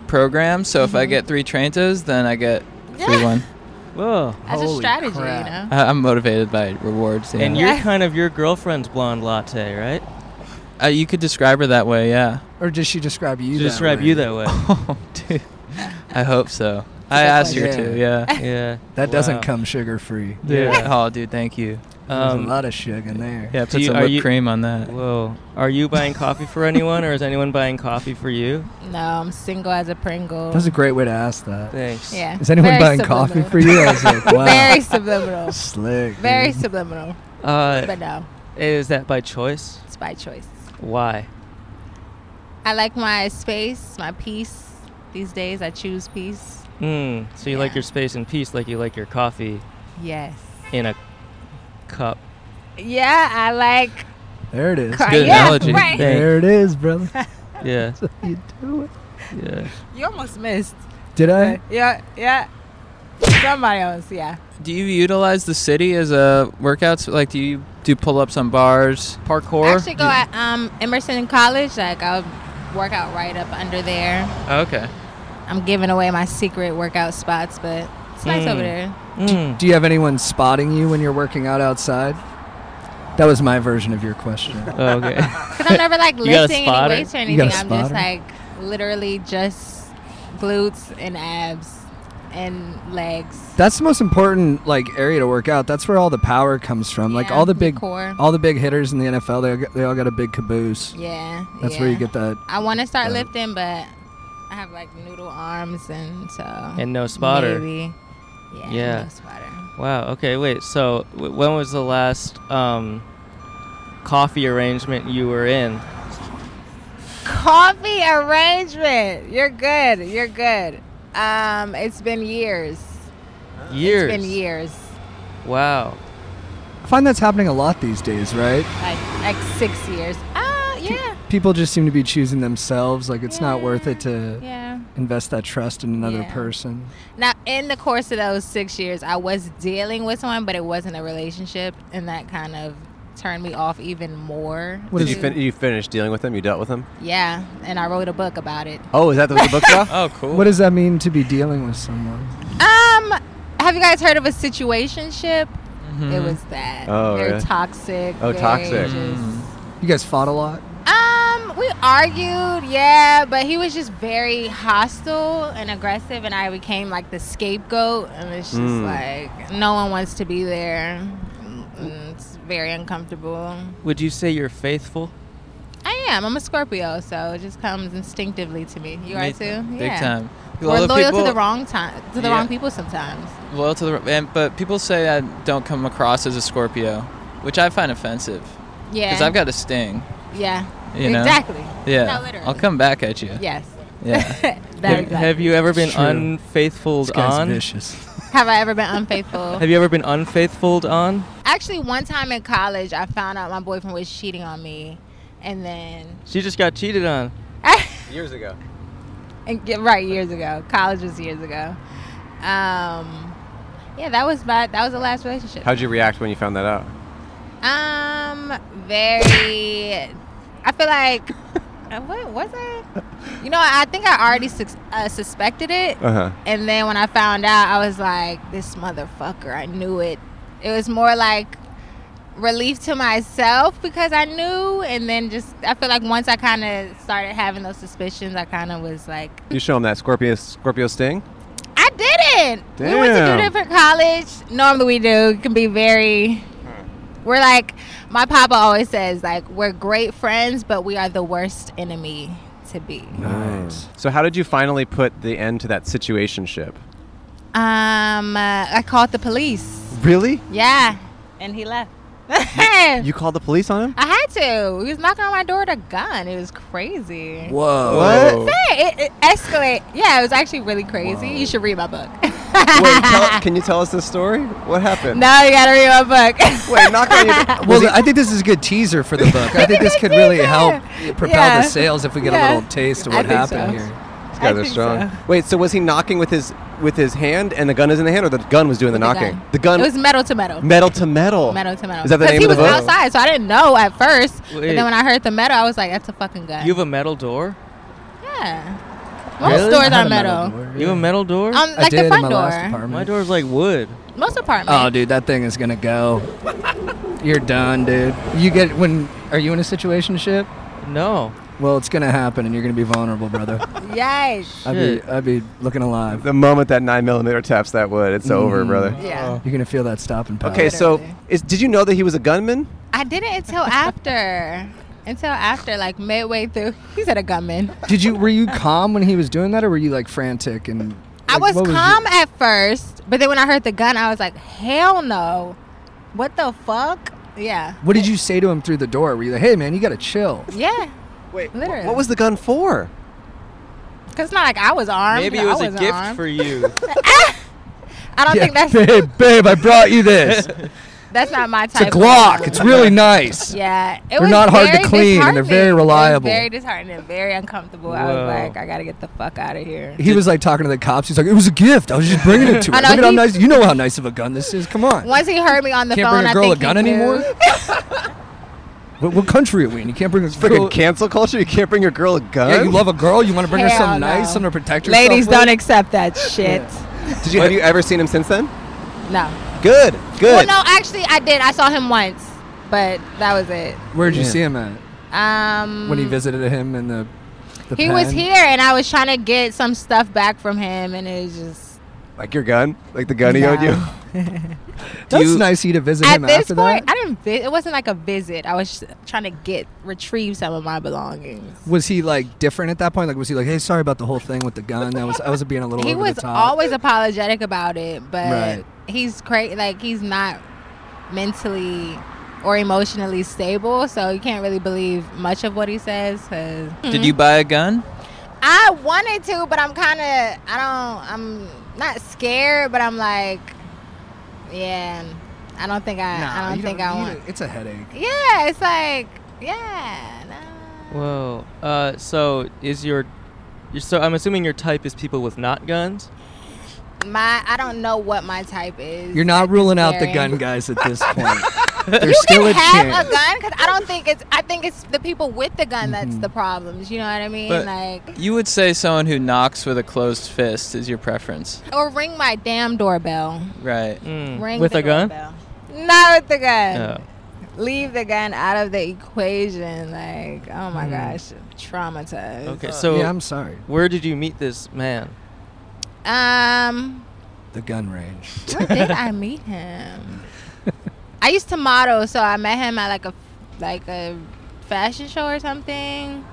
S6: program. So if I get three Trentas, then I get a free
S7: Yeah.
S6: one.
S4: Whoa.
S7: That's a
S5: Holy
S7: strategy,
S5: crap.
S7: you know.
S6: I, I'm motivated by rewards. Yeah.
S4: And
S6: And
S7: you-
S4: you're
S7: Yeah.
S4: kind of your girlfriend's blonde latte, right?
S6: uh, you could describe her that
S4: [LAUGHS]
S6: way, yeah.
S5: Or does she describe you?
S4: To
S5: that
S4: describe
S5: way?
S4: you that
S5: [LAUGHS]
S4: way.
S6: [LAUGHS] Oh, dude. I hope so. I asked her
S5: Yeah.
S6: to,
S7: [LAUGHS]
S6: yeah.
S4: yeah.
S5: That
S4: Wow.
S5: doesn't come sugar free.
S4: Yeah.
S6: Oh, dude, thank you.
S5: There's a
S4: Um,
S5: lot of sugar in there.
S6: Yeah,
S4: Do
S6: put
S4: you-
S6: some
S4: are
S6: whipped
S4: you-
S6: cream on that.
S4: Whoa. Are you buying coffee for anyone, or is anyone buying coffee for you?
S7: No, I'm single as a Pringle.
S5: That's a great way to ask that.
S4: Thanks.
S7: yeah.
S5: Is anyone
S7: Very
S5: buying
S7: subliminal.
S5: coffee for you? I was
S7: [LAUGHS]
S5: like, wow.
S7: Very subliminal.
S5: slick.
S7: Very
S5: dude.
S7: subliminal.
S4: Uh,
S7: But no,
S4: is that by choice?
S7: it's by choice.
S4: Why?
S7: I like my space, my peace. These days, I choose peace.
S4: Mm, so you like
S7: Yeah.
S4: your space and peace, like you like your coffee
S7: Yes.
S4: in a cup.
S7: Yeah, I like.
S5: there it is.
S7: cry-
S6: good
S7: yeah,
S6: analogy.
S4: Thank-
S7: Right.
S5: There it is,
S7: [LAUGHS]
S5: brother. [LAUGHS]
S4: Yeah.
S5: you do it.
S4: Yeah.
S7: You almost missed.
S5: Did I?
S7: Yeah, yeah. Somebody else, yeah.
S6: Do you utilize the city as a workouts? Like, do you do pull ups on bars?
S7: I
S6: Parkour?
S7: actually [LAUGHS] go at um, Emerson College. Like, I'll work out right up under there.
S6: okay.
S7: I'm giving away my secret workout spots, but it's nice
S4: Mm.
S7: over there.
S4: Mm.
S5: Do you have anyone spotting you when you're working out outside? That was my version of your question.
S4: Oh, okay.
S6: [LAUGHS]
S7: Because I'm never
S4: [LAUGHS]
S7: like
S4: You got a
S7: lifting any
S4: spotter?
S7: weights or
S5: You got a
S7: anything. I'm just
S5: spotter?
S7: like literally just glutes and abs and legs.
S5: That's the most important like area to work out. That's where all the power comes from. like
S7: Yeah,
S5: all the
S7: the
S5: big,
S7: core.
S5: all the big hitters in the NFL, they all got- they all got a big caboose.
S7: Yeah.
S5: That's
S7: yeah.
S5: where you get that.
S7: I want to start
S5: Got it.
S7: lifting, but I have like noodle arms and so.
S4: And no spotter.
S7: Maybe. Yeah.
S4: Yeah.
S7: No spotter.
S4: Wow. Okay. Wait. So, w- when was the last um, coffee arrangement you were in?
S7: Coffee arrangement. You're good. You're good. Um, it's been years.
S4: Years.
S7: It's been years.
S4: Wow.
S5: I find that's happening a lot these days, right?
S7: Like like six years. Ah, yeah.
S5: People just seem to be choosing themselves. Like it's not
S7: Yeah.
S5: worth it to
S7: Yeah.
S5: invest that trust in another
S7: Yeah.
S5: person.
S7: Now, in the course of those six years, I was dealing with someone, but it wasn't a relationship, and that kind of turned me off even more.
S5: What
S7: to-
S5: is
S8: Did you, fin- you finish dealing with them? You dealt with them?
S7: Yeah, and I wrote a book about it.
S8: [LAUGHS] Oh, is that what the book's about?
S6: Oh, cool.
S5: What does that mean to be dealing with someone?
S7: Um, have you guys heard of a situationship?
S8: Mm-hmm.
S7: It was that.
S8: Oh,
S7: very
S8: really?
S7: toxic.
S8: Oh,
S7: very
S8: toxic.
S7: just-
S5: You guys fought a lot.
S7: Um, we argued, yeah, but he was just very hostile and aggressive, and I became like the scapegoat, and it's just
S8: Mm.
S6: Hmm.
S7: like no one wants to be there. And It's very uncomfortable.
S4: Would you say you're faithful?
S7: I am. I'm a Scorpio, so it just comes instinctively to me. You are
S6: Me-
S7: too.
S6: Big
S7: yeah.
S6: time. A lot
S7: We're
S6: of
S7: loyal
S6: people-
S7: to the wrong time, to the
S6: Yeah.
S7: wrong people sometimes.
S6: Loyal to the. And, but people say I don't come across as a Scorpio, which I find offensive
S7: Yeah.
S6: because I've got a sting.
S7: yeah.
S6: you know?
S7: Exactly.
S6: Yeah.
S7: No, literally.
S6: I'll come back at you.
S7: Yes.
S6: Yeah.
S7: [LAUGHS] that
S4: Have,
S7: exactly.
S4: have you ever been
S5: It's true.
S4: unfaithful on?
S5: vicious.
S7: Have I ever been
S6: [LAUGHS]
S7: unfaithful?
S4: Have you ever been unfaithful on?
S7: Actually, one time in college, I found out my boyfriend was cheating on me, and then [LAUGHS]
S4: She just got cheated on.
S8: Years ago.
S7: and get right years ago. College was years ago. Um, yeah, that was my that was the last relationship.
S8: How'd you react when you found that out?
S7: Um, very. I feel like uh, what was I? You know, I think I already sus- uh, suspected it,
S2: Uh-huh.
S8: Uh huh.
S7: and then when I found out, I was like, "This motherfucker!" I knew it. It was more like relief to myself because I knew, and then just I feel like once I kind of started having those suspicions, I kind of was like,
S8: You show them that Scorpio Scorpio sting.
S7: I didn't. We went to
S8: Damn.
S7: two different college. Normally we do. It can be very. We're like my papa always says, like we're great friends, but we are the worst enemy to be.
S5: Nice.
S8: So how did you finally put the end to that situationship?
S7: Um, uh, I called the police.
S8: Really?
S7: [LAUGHS] Yeah, and he left.
S2: You called the police on him?
S7: I had to. He was knocking on my door with a gun. It was crazy.
S8: Oh.
S2: Whoa.
S7: Say, It, it escalate. Yeah, it was actually really crazy. You should read my book.
S2: Wait, tell, can you tell us the story? What happened?
S7: [LAUGHS] no, you gotta read my book.
S2: Wait, knock on your door.
S5: Well, I think this is a good teaser for the
S7: [LAUGHS]
S5: book. I think this could really help propel
S7: Yeah.
S5: the sales if we get a
S7: Yeah.
S5: little taste of
S7: [LAUGHS] I
S5: what
S7: think so.
S5: happened here.
S2: These guys
S7: I
S2: are
S7: think
S2: strong.
S7: so.
S2: Wait, so was he knocking with his with his hand and the gun is in the hand, or the gun was doing the, knocking? The gun.
S7: It was metal to metal.
S2: metal to metal.
S7: metal to metal.
S2: Is that the
S7: 'Cause
S2: name
S7: he
S2: of the
S7: was
S2: book?
S7: outside, so I didn't know at first. But
S4: Wait.
S7: then when I heard the metal, I was like, "That's a fucking gun."
S4: You have a metal door?
S7: yeah. Most doors are metal.
S4: You have a metal door?
S7: Um,
S5: I
S7: like
S5: did
S7: the
S5: in
S7: front
S5: my last
S7: door.
S5: apartment.
S4: My door's like wood.
S7: Most
S5: Oh,
S7: apartments.
S5: dude, that thing is gonna go. You're done, dude. You get when? Are you in a situation ship?
S4: No.
S5: Well, it's gonna happen, and you're gonna be vulnerable, brother.
S7: Yes.
S5: I'd be,
S4: Shit.
S5: I'd be looking alive.
S2: The moment that nine millimeter taps that wood, it's over, brother.
S7: Yeah.
S5: You're gonna feel that stopping power.
S2: Mm-hmm. Okay, so
S7: Literally.
S2: is, did you know that he was a gunman?
S7: I didn't until after. Until after, like midway through, he said a gunman.
S5: Did you? Were you calm when he was doing that, or were you like frantic and?
S7: I
S5: like,
S7: was
S5: what your-
S7: calm at first, but then when I heard the gun, I was like, "Hell no! What the fuck? Yeah,
S5: what did you say to him through the door? Were you like, "Hey, man, you gotta chill"?
S7: yeah."
S2: Wait, wh-
S7: Literally.
S2: what was the gun for?
S7: Cause it's not like I was Mm-hmm. armed.
S4: Maybe
S7: I
S4: it was a
S7: wasn't
S4: gift
S7: armed.
S4: for
S7: [LAUGHS]
S4: you.
S7: I don't think that's
S5: babe, babe, I brought you this.
S7: that's not my
S5: It's a
S7: type. of
S5: Glock.
S7: gun.
S5: It's really nice.
S7: yeah. It
S5: They're
S7: was
S5: not hard to
S7: very
S5: clean, and they're very
S7: disheartening. It was
S5: reliable.
S7: very disheartening. Very uncomfortable. I
S4: Whoa.
S7: was like, I gotta get the fuck out of here.
S5: He was like talking to the cops. He's like, "It was a gift. I was just bringing
S7: [LAUGHS]
S5: it to her.
S7: I know,
S5: Look at how
S7: he-
S5: nice. You know how nice of a gun this is. Come on.
S7: Once he heard me on the
S5: Can't
S7: phone,
S5: bring a
S7: I
S5: girl
S7: think
S5: a gun
S7: he knew.
S5: anymore? What, what country are we in? You can't bring a girl.
S2: Freaking cancel culture? You can't bring your girl a gun?
S5: yeah, you love a girl. You want to bring her
S7: Hell
S5: something nice,
S7: no.
S5: something to protect yourself.
S7: Ladies
S5: with?
S7: don't accept that shit.
S2: Did you have you ever seen him since then?
S7: No.
S2: Good,
S7: Well,
S2: good.
S7: no, actually, I did. I saw him once, but that was it.
S5: Where'd you
S2: Yeah.
S5: see him at?
S7: Um,
S5: When he visited him in the. the
S7: he was
S5: pen?
S7: here, and I was trying to get some stuff back from him, and it was just.
S2: Like your gun? Like the gun he owed you?
S7: No.
S2: [LAUGHS]
S5: That's
S2: you-
S5: nice of you to visit
S7: At
S5: him
S7: this
S5: after
S7: point,
S5: that.
S7: I didn't. Vi- it wasn't like a visit. I was just trying to get retrieve some of my belongings.
S5: Was he like different at that point? Like, was he like, "Hey, sorry about the whole thing with the gun. That was I was being a little
S7: he
S5: over
S7: was
S5: the top."
S7: always apologetic about it, but
S5: Right.
S7: he's crazy. Like he's not mentally or emotionally stable, so you can't really believe much of what he says. 'cause-
S6: Did you buy a gun?
S7: I wanted to, but I'm kind of I don't I'm not scared, but I'm like, yeah, I don't think I
S5: Nah,
S7: I don't
S5: you
S7: think I
S5: you
S7: want.
S5: don't- It's a headache.
S7: Yeah, it's like yeah. Nah.
S4: Whoa. Uh, so is your, your so I'm assuming your type is people with not guns.
S7: My I don't know what my type is.
S5: You're not ruling out the
S7: Scary.
S5: gun guys at
S7: [LAUGHS]
S5: this point. There's
S7: You
S5: still
S7: can
S5: a
S7: have
S5: chance.
S7: a gun because I don't think it's I think it's the people with the
S5: Mm-hmm.
S7: gun that's the problems. You know what I mean?
S6: But-
S7: like
S6: You would say someone who knocks with a closed fist is your preference,
S7: or ring my damn doorbell.
S6: right?
S4: Mm.
S7: Ring
S4: With
S7: the
S4: a gun? Oh.
S7: doorbell. Not with the gun.
S4: No.
S7: leave the gun out of the equation. Like, oh
S5: Hmm.
S7: my gosh, traumatized.
S4: Okay. So
S5: yeah, I'm sorry.
S4: where did you meet this man?
S7: Um,
S5: The gun range.
S7: where
S5: [LAUGHS]
S7: did I meet him? I used to model, so I met him at like a like a fashion show or something.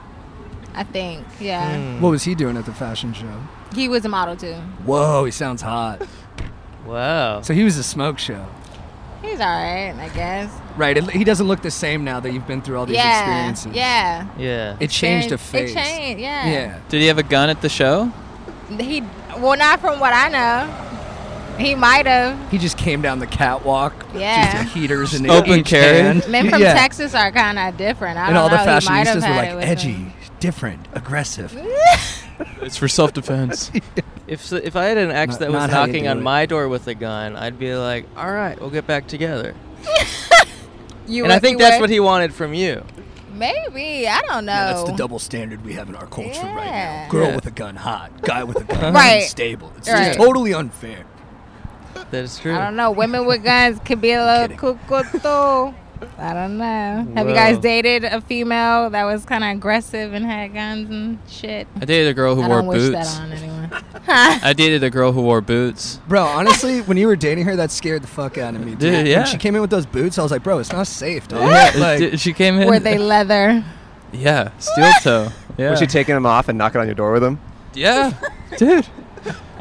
S7: I think, yeah.
S4: Mm.
S5: What was he doing at the fashion show?
S7: He was a model too.
S5: Whoa, he sounds hot.
S4: Wow.
S5: So he was a smoke show,
S7: He's all right, I guess.
S5: right? It, he doesn't look the same now that you've been through all these
S7: yeah,
S5: experiences.
S7: yeah.
S4: Yeah.
S5: It changed a
S7: Very-
S5: face.
S7: It changed, yeah.
S5: Yeah.
S6: Did he have a gun at the show?
S7: He, well, not from what I know. He might have.
S5: He just came down the catwalk.
S7: Yeah.
S5: Just the heaters and
S6: Open
S5: each
S6: carry.
S5: hand.
S7: Men from
S5: Yeah.
S7: Texas are kind of different. I
S5: And
S7: don't
S5: all the
S7: know. He might
S5: fashionistas
S7: have
S5: were
S7: had it
S5: like
S7: with
S5: edgy, [LAUGHS]
S7: him.
S5: different, aggressive.
S6: It's for self-defense.
S4: If so, if I had an ex
S5: Not-
S4: that was
S5: not how you
S4: knocking
S5: do
S4: on
S5: it.
S4: my door with a gun, I'd be like, "All right, we'll get back together."
S7: You
S4: And I
S7: would-
S4: think
S7: you
S4: that's
S7: would-
S4: what he wanted from you.
S7: Maybe I don't know.
S5: That's the double standard we have in our culture right now.
S7: Yeah.
S5: Girl
S4: Yeah.
S5: with a gun, hot. Guy with a gun,
S7: Right.
S5: unstable. It's
S7: Right.
S5: just totally unfair.
S4: That is true.
S7: I don't know. Women with guns could be a little
S5: kidding.
S7: cuckoo too. I don't know. Have you guys
S4: Whoa.
S7: dated a female that was kind of aggressive and had guns and shit?
S6: I dated a girl who
S7: I
S6: wore
S7: don't wish that
S6: boots.
S7: on anyone.
S6: I dated a girl who wore boots.
S5: Bro, honestly, when you were dating her, that scared the fuck out of me. Dude,
S6: Dude, yeah.
S5: When she came in with those boots, I was like, bro, it's not safe, dude. Like,
S6: D- she came in. [LAUGHS]
S7: Were they leather?
S6: Yeah, steel toe.
S4: [LAUGHS]
S6: Yeah.
S2: Was she taking him off and knocking on your door with him?
S6: yeah, dude.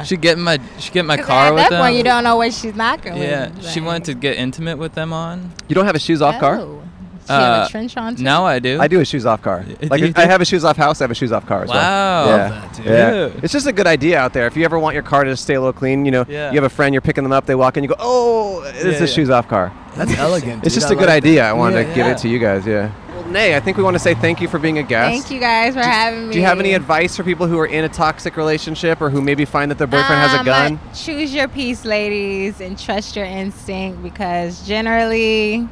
S6: She get in my she get in my
S7: 'Cause
S6: car
S7: at
S6: with
S7: that
S6: them.
S7: point, you don't know what she's knocking
S6: yeah,
S7: with.
S6: she wanted to get intimate with them on.
S2: You don't have a shoes off car?
S7: Oh. She had
S6: Uh,
S7: a trench on. Too.
S6: Now I do.
S2: I do a shoes off car.
S6: do you
S2: Like
S6: do?
S2: I have a shoes off house. I have a shoes off car as
S6: Wow.
S2: well.
S6: Love
S2: Yeah.
S6: that, dude.
S2: yeah.
S6: Dude.
S2: It's just a good idea out there. If you ever want your car to stay a little clean, you know,
S6: Yeah.
S2: you have a friend, you're picking them up, they walk in, you go, oh, it's
S6: Yeah,
S2: a
S6: yeah.
S2: shoes off car.
S9: That's elegant.
S2: It's
S9: dude.
S2: just
S9: I
S2: a good
S9: like
S2: idea.
S9: that.
S2: I wanted
S6: Yeah,
S2: to give
S6: yeah.
S2: it to you guys. Yeah. Well, Nay, I think we want to say thank you for being a guest.
S7: Thank you guys for having me.
S2: Do you have any advice for people who are in a toxic relationship or who maybe find that their boyfriend has a
S7: Um,
S2: gun?
S7: Choose your piece, ladies, and trust your instinct because generally,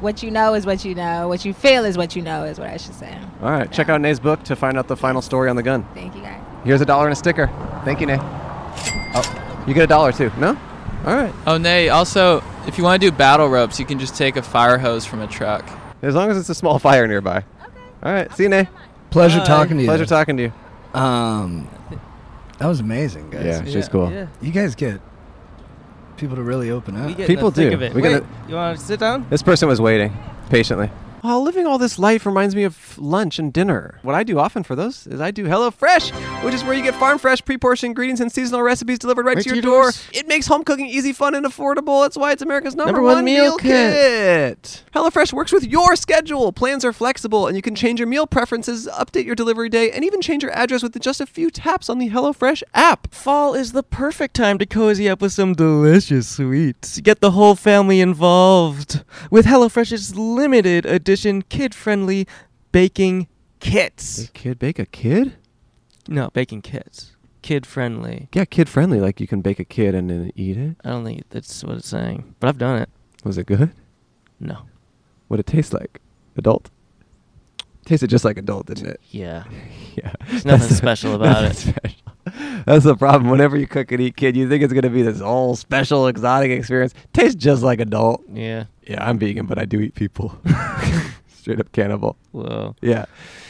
S7: what you know is what you know. What you feel is what you know is what I should say.
S2: All right, check out Nay's book to find out the final story on the gun.
S7: Thank you guys.
S2: Here's a dollar and a sticker. Thank you, Nay. Oh, you get a dollar too. No? All right.
S6: Oh, Nay. Also, if you want to do battle ropes, you can just take a fire hose from a truck.
S2: As long as it's a small [LAUGHS] fire nearby. All right. See you, Nay.
S5: Pleasure
S9: Uh,
S4: Bye.
S5: talking to you.
S2: Pleasure talking to you.
S9: Um, that was amazing, guys.
S2: Yeah, she's cool.
S4: Yeah.
S9: You guys get people to really open up.
S4: We get in
S2: People
S4: the thick
S2: do.
S4: Of it.
S2: We
S4: Wait,
S2: gotta-
S4: you want to sit down?
S2: This person was waiting patiently. Well, living all this life reminds me of lunch and dinner. What I do often for those is I do Hello Fresh, which is where you get farm fresh, pre-portioned ingredients and seasonal recipes delivered right, to your door. It makes home cooking easy, fun, and affordable. That's why it's America's number,
S4: Number one meal
S2: kit. HelloFresh works with your schedule. Plans are flexible, and you can change your meal preferences, update your delivery day, and even change your address with just a few taps on the HelloFresh app.
S4: Fall is the perfect time to cozy up with some delicious sweets. Get the whole family involved with HelloFresh's limited edition kid-friendly baking kits.
S2: Kid bake a kid?
S4: No, baking kits. Kid-friendly.
S2: Yeah, kid friendly. Like you can bake a kid and then eat it.
S4: I don't think that's what it's saying, but I've done it.
S2: Was it good?
S4: No.
S2: What it tastes like? Adult. Tasted just like adult, didn't it?
S4: Yeah.
S2: [LAUGHS] Yeah.
S4: There's
S2: [LAUGHS]
S4: nothing special about it.
S2: special. That's the problem. Whenever you cook and eat kid, you think it's gonna be this whole special exotic experience. Tastes just like adult.
S4: Yeah.
S2: Yeah, I'm vegan, but I do eat
S4: [LAUGHS]
S2: people. [LAUGHS] Straight up cannibal.
S4: Whoa.
S2: Yeah.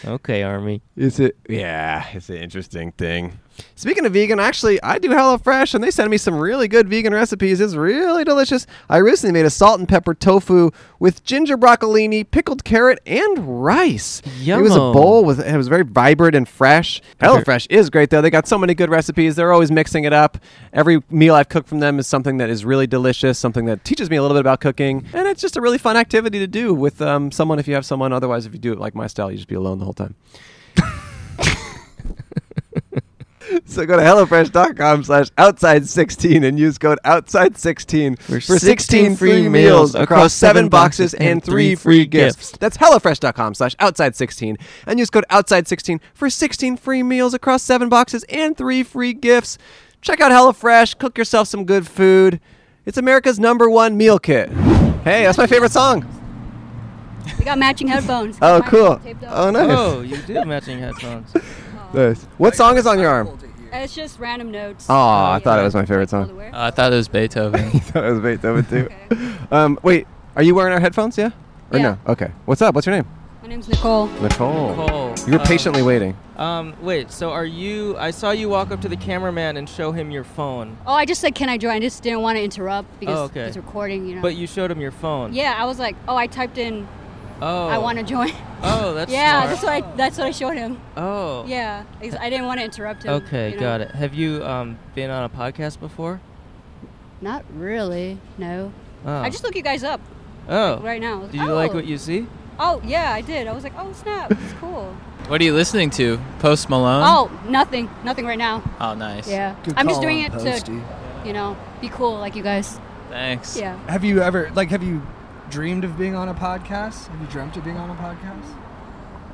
S4: Okay, Army.
S2: It's a yeah, it's an interesting thing. Speaking of vegan, actually, I do HelloFresh, and they send me some really good vegan recipes. It's really delicious. I recently made a salt and pepper tofu with ginger broccolini, pickled carrot, and rice. It was a
S4: Yummo.
S2: bowl with it was very vibrant and fresh. HelloFresh is great though. They got so many good recipes. They're always mixing it up. Every meal I've cooked from them is something that is really delicious, something that teaches me a little bit about cooking, and it's just a really fun activity to do with um, someone if you have someone. Otherwise, if you do it like my style, you just be alone the whole time. So go to HelloFresh.com slash outside16 and use code outside16 for, 16, free meals across seven boxes and three free gifts. That's HelloFresh.com slash outside16 and use code outside16 for 16 free meals across seven boxes and three free gifts. Check out HelloFresh, cook yourself some good food. It's America's number one meal kit. Hey, that's my favorite song.
S10: We got matching headphones.
S2: Oh,
S10: Mine are
S2: cool.
S10: taped up.
S2: [LAUGHS] Oh, nice.
S4: Oh, you do have matching headphones.
S2: Nice. What song is on your arm?
S10: It's just random notes.
S2: Aw, I thought it was my favorite song.
S6: Uh, I thought it was Beethoven.
S2: [LAUGHS] that was Beethoven
S10: [LAUGHS]
S2: too. Um, wait, are you wearing our headphones? Yeah. Or
S10: Yeah.
S2: no? Okay. What's up? What's your name?
S10: My name's Nicole.
S2: Nicole.
S4: Nicole,
S2: You were
S4: um,
S2: patiently waiting.
S4: Um, wait, so are you. I saw you walk up to the cameraman and show him your phone,
S10: Oh, I just said, can I join? I just didn't want to interrupt because
S4: Oh, okay.
S10: it's recording, you know.
S4: but you showed him your phone.
S10: yeah, I was like, oh, I typed in,
S4: Oh.
S10: I want to join. [LAUGHS]
S4: Oh, that's
S10: yeah,
S4: smart.
S10: that's what I that's what I showed him.
S4: Oh.
S10: Yeah, because I didn't want to interrupt him.
S4: Okay,
S10: you know.
S4: got it. Have you um, been on a podcast before?
S10: Not really, no.
S4: Oh.
S10: I just look you guys up
S4: Oh.
S10: right now.
S4: Do you like
S10: Oh.
S4: what you see?
S10: Oh yeah, I did. I was like,
S4: [LAUGHS]
S10: oh snap, it's cool.
S6: what are you listening to? Post Malone.
S10: oh, nothing, nothing right now.
S6: Oh, nice.
S10: Yeah,
S9: Good
S10: I'm just
S9: call
S10: doing
S9: on
S10: it
S9: Posty.
S10: to, you know, be cool like you guys.
S6: Thanks.
S10: Yeah.
S9: Have you ever like have you dreamed of being on a podcast? Have you dreamt of being on a podcast?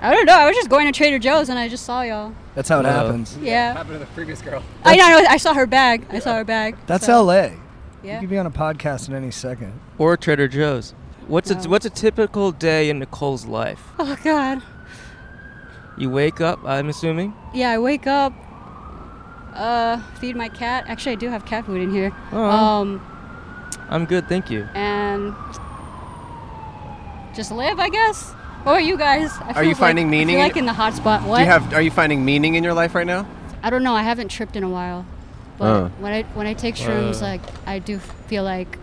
S10: I don't know. I was just going to Trader Joe's and I just saw y'all.
S9: That's how it
S4: No.
S9: happens.
S10: Yeah.
S8: Happened to the previous girl.
S10: I know. I saw her bag. I saw her bag.
S9: That's
S10: so,
S9: LA. You
S10: Yeah.
S9: could be on a podcast at any second.
S4: Or Trader Joe's. What's a
S10: No.
S4: what's a typical day in Nicole's life?
S10: Oh God.
S4: You wake up, I'm assuming.
S10: Yeah. I wake up. Uh, feed my cat. Actually, I do have cat food in here.
S4: Oh.
S10: Um,
S4: I'm good, thank you.
S10: and just live, I guess. What about you guys? I feel
S2: you
S10: like-
S2: finding
S10: I feel
S2: meaning in-
S10: like in the hot spot. What?
S2: Do you have? Are you finding meaning in your life right now?
S10: I don't know. I haven't tripped in a while, but
S2: Oh.
S10: when I when I take shrooms,
S4: Uh.
S10: like I do feel like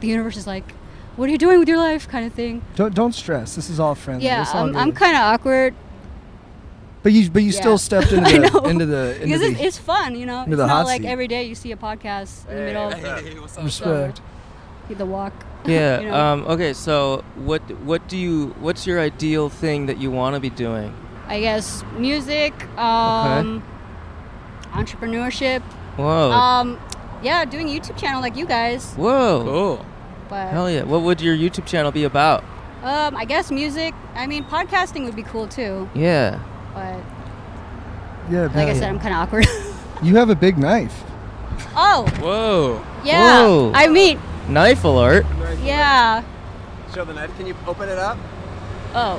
S10: the universe is like, "What are you doing with your life?" kind of thing.
S9: Don't don't stress. This is all friendly.
S10: Yeah,
S9: It's all
S10: I'm, I'm
S9: good.
S10: kind of awkward.
S5: But you but you still stepped
S10: [LAUGHS]
S5: into
S10: I
S5: the
S10: know.
S5: into the into
S10: because it's,
S5: the
S10: it's fun, you know. It's
S5: into the hot
S10: not like
S5: seat.
S10: every day you see a podcast in the middle
S8: [LAUGHS]
S10: of
S5: respect.
S10: the walk. [LAUGHS]
S1: Yeah.
S10: you know?
S1: um, okay. So, what what do you? What's your ideal thing that you want to be doing?
S10: I guess music, um, entrepreneurship.
S5: Oh.
S1: Whoa.
S10: Um, yeah, doing YouTube channel like you guys,
S1: Whoa.
S6: Cool.
S10: but
S1: Hell yeah. What would your YouTube channel be about?
S10: um, I guess music. I mean, podcasting would be cool too,
S1: Yeah.
S10: but
S5: Yeah,
S10: like I
S5: man.
S10: said, I'm kind of awkward. [LAUGHS]
S5: you have a big knife.
S10: oh,
S6: Whoa.
S10: yeah.
S1: Whoa.
S10: I mean,
S1: Knife alert.
S10: yeah.
S8: Show the knife. Can you open it up?
S10: Oh,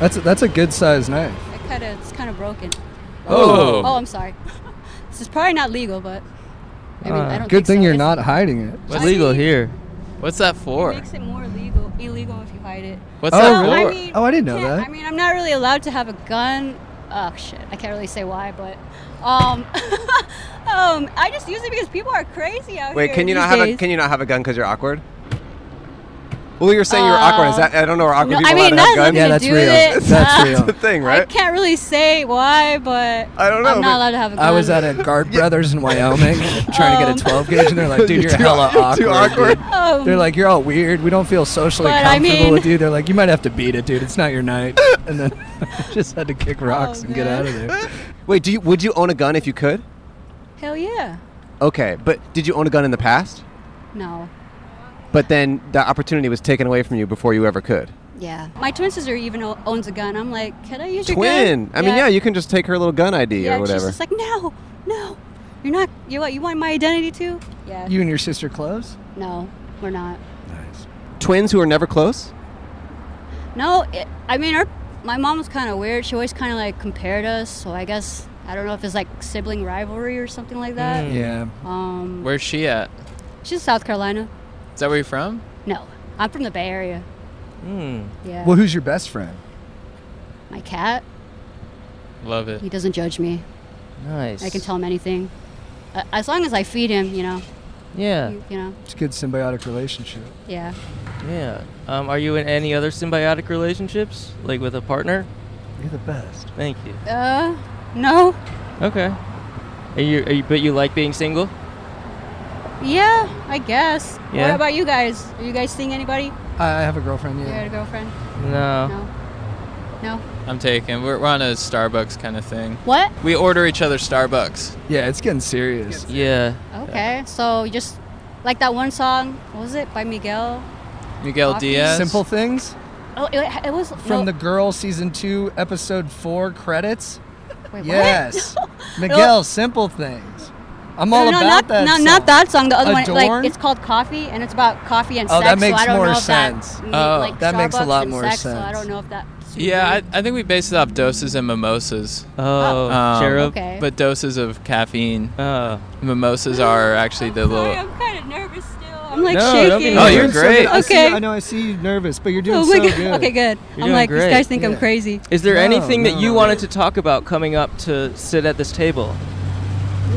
S5: That's a, that's a good sized knife.
S10: it kind of it's kind of broken.
S6: Oh.
S10: Oh, I'm sorry. [LAUGHS] this is probably not legal, but I mean, I don't.
S5: Uh, Good
S10: think
S5: thing
S10: so.
S5: you're
S10: It's-
S5: not hiding it.
S1: It's
S10: I
S1: legal
S10: mean-
S1: oh, here.
S6: What's that for?
S10: It makes it more legal, illegal if you hide it.
S6: What's
S5: Oh,
S6: that
S10: I
S6: for?
S10: mean,
S5: Oh, I didn't know
S10: can't-
S5: that.
S10: I mean, I'm not really allowed to have a gun. Oh shit, I can't really say why, but um, [LAUGHS] um, I just use it because people are crazy out
S2: Wait,
S10: here.
S2: can you
S10: these
S2: not have a
S10: days.
S2: can you not have a gun because you're awkward? Well, you're saying you're awkward. Is
S10: Uh,
S2: that I don't know. Are awkward
S10: No,
S2: people
S10: I mean,
S2: allowed to have
S10: nothing
S2: guns?
S5: Yeah, that's
S10: to do
S5: real.
S10: with it.
S5: That's
S10: Uh,
S5: real.
S2: [LAUGHS] That's the thing,
S10: I
S2: right?
S10: can't really say why, but
S2: I don't know,
S10: I'm not
S2: but-
S10: allowed to have a gun.
S5: I was at a [LAUGHS] Garp Brothers in
S10: [LAUGHS]
S5: Wyoming trying to get a
S10: Um.
S5: 12 gauge, and they're like, [LAUGHS] dude, you're
S2: Too-
S5: hella awkward.
S2: too
S5: dude."
S10: Um,
S5: They're like, you're all weird. We don't feel socially
S10: But I
S5: comfortable
S10: mean-
S5: with you. They're like, you might have to beat it, dude. It's not your [LAUGHS] night. And then just had to kick rocks and get
S10: Oh, man.
S5: out of there.
S2: Wait, do you would you own a gun if you could?
S10: hell yeah,
S2: Okay, but did you own a gun in the past?
S10: no.
S2: But then the opportunity was taken away from you before you ever could.
S10: Yeah, my twin sister even o- owns a gun. I'm like, can I use your
S2: Twin.
S10: gun?
S2: I mean, yeah, you can just take her little gun ID
S10: yeah,
S2: or
S10: and she's
S2: whatever.
S10: just like, no, no, you're not. You what? You want my identity too? Yeah.
S5: You and your sister close?
S10: no, we're not.
S2: Twins who are never close.
S10: No, it, I mean, our, my mom was kind of weird. She always kind of like compared us. So I guess I don't know if it's like sibling rivalry or something like that.
S5: Yeah.
S2: Hmm.
S10: Um,
S6: Where's she at?
S10: she's South Carolina.
S6: Is that where you're from?
S10: No, I'm from the Bay Area.
S1: Hmm.
S10: Yeah.
S5: Well, who's your best friend?
S10: my cat,
S6: Love it.
S10: he doesn't judge me.
S1: Nice.
S10: I can tell him anything, uh, as long as I feed him. You know.
S1: Yeah.
S10: You, you know.
S5: It's a good symbiotic relationship.
S10: Yeah.
S1: Yeah. Um, are you in any other symbiotic relationships, like with a partner?
S5: You're the best.
S1: Thank you.
S10: Uh, no.
S1: Okay. Are you? Are you but you like being single?
S10: Yeah, I guess.
S1: Yeah.
S10: What about you guys? Are you guys seeing anybody?
S5: I I have a girlfriend,
S10: You got a
S5: yeah.
S10: girlfriend?
S1: No.
S10: No. No.
S6: I'm taking. We're, we're on a Starbucks kind of thing.
S10: What?
S6: We order each other Starbucks.
S5: Yeah, it's getting serious.
S1: Yeah.
S10: Okay, so you just like that one song. What was it by Miguel?
S6: Miguel
S10: Coffee.
S6: Diaz.
S5: Simple things
S10: Oh, it, it was
S5: from
S10: no,
S5: The Girl season 2 episode 4 credits.
S10: Wait, what? [LAUGHS]
S5: Yes. Miguel,
S10: Miguel,
S5: simple things. I'm
S10: No,
S5: all
S10: no,
S5: about
S10: not,
S5: that.
S10: no, not that song. The other one,
S5: Adorn?
S10: like it's called Coffee, and it's about coffee and
S5: Oh,
S10: sex.
S5: that makes
S10: so I don't
S5: more
S10: know if that
S5: sense.
S10: mean,
S6: Oh.
S10: like
S5: That makes a
S10: Starbucks
S5: lot
S10: and
S5: more
S10: sex, So I
S5: sense.
S10: don't know if that.
S6: Yeah, I, I think we base it off doses and mimosas.
S1: Oh,
S10: Uh,
S6: Um,
S1: cherub.
S10: okay.
S6: But doses of caffeine.
S5: Uh,
S1: Oh.
S6: Mimosas are actually the
S10: Sorry, [LAUGHS]
S6: little.
S10: I'm kind of nervous still. I'm like
S1: No, don't be
S10: shaking.
S6: Oh,
S1: nervous.
S6: you're great.
S5: I see-
S10: Okay.
S5: I know I see you nervous, but you're doing
S10: [LAUGHS] Oh
S5: so
S10: my God.
S5: good.
S10: Okay, good.
S1: You're
S10: I'm
S1: doing
S10: like
S1: great.
S10: these guys think I'm
S5: Yeah.
S10: crazy.
S1: Is there
S5: No,
S1: anything that
S5: no,
S1: you
S5: no,
S1: wanted
S5: no.
S1: to talk about coming up to sit at this table?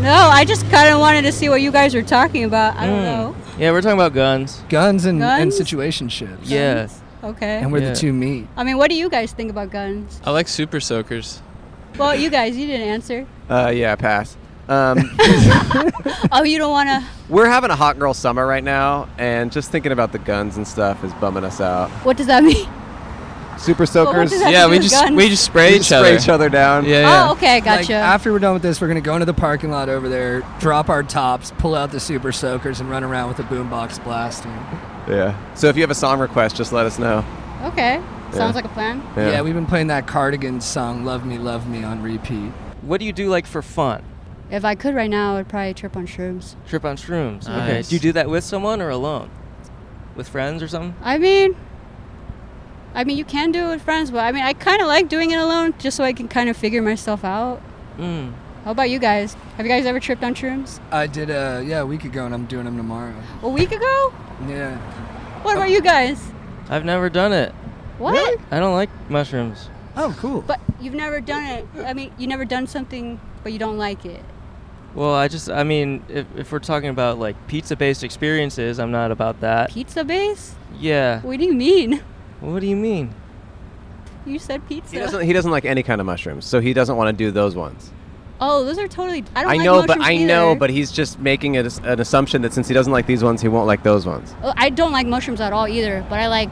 S10: No, I just kind of wanted to see what you guys were talking about. I don't know.
S1: Yeah, we're talking about guns.
S5: Guns and, and
S10: Guns?
S5: situationships.
S1: Yeah.
S10: Okay.
S5: And where
S1: Yeah.
S5: the two meet.
S10: I mean, what do you guys think about guns?
S6: I like super soakers.
S10: Well, you guys, you didn't answer.
S2: Uh, yeah, pass. [LAUGHS] Um,
S10: Oh, you don't want to.
S2: we're having a hot girl summer right now, and just thinking about the guns and stuff is bumming us out.
S10: What does that mean?
S2: Super soakers.
S10: does that-
S6: Yeah,
S10: to do
S6: we
S10: with
S6: just
S10: guns.
S6: we just spray
S2: we
S6: each
S2: just
S6: other.
S2: spray each other down.
S6: Yeah, yeah.
S10: Oh, okay,
S5: Like,
S10: gotcha.
S5: after we're done with this, we're gonna go into the parking lot over there, drop our tops, pull out the super soakers, and run around with a boombox blasting.
S2: Yeah. So if you have a song request, just let us know.
S10: okay,
S2: Yeah.
S10: sounds like a plan.
S5: Yeah. we've been playing that Cardigans song "Love Me, Love Me" on repeat.
S1: What do you do like for fun?
S10: If I could right now, I would probably trip on shrooms.
S1: Trip on shrooms. Okay.
S6: Nice.
S1: Do you do that with someone or alone? With friends or something?
S10: I mean, I mean, you can do it with friends, but I mean, I kind of like doing it alone, just so I can kind of figure myself out.
S1: Mm.
S10: How about you guys? Have you guys ever tripped on shrooms?
S5: I did uh yeah a week ago, and I'm doing them tomorrow.
S10: A week ago?
S5: Yeah.
S10: What about you guys?
S1: I've never done it.
S10: What?
S1: I don't like mushrooms.
S5: Oh, cool.
S10: But you've never done it. I mean, you never done something, but you don't like it.
S1: Well, I just, I mean, if, if we're talking about like pizza based experiences, I'm not about that.
S10: Pizza base?
S1: Yeah.
S10: What do you mean? [LAUGHS]
S1: What do you mean?
S10: You said pizza.
S2: He doesn't, he doesn't like any kind of mushrooms, so he doesn't want to do those ones.
S10: oh, those are totally. I don't. like
S2: know, but
S10: mushrooms
S2: I know,
S10: either.
S2: but he's just making a, an assumption that since he doesn't like these ones, he won't like those ones.
S10: Oh, I don't like mushrooms at all either. But I like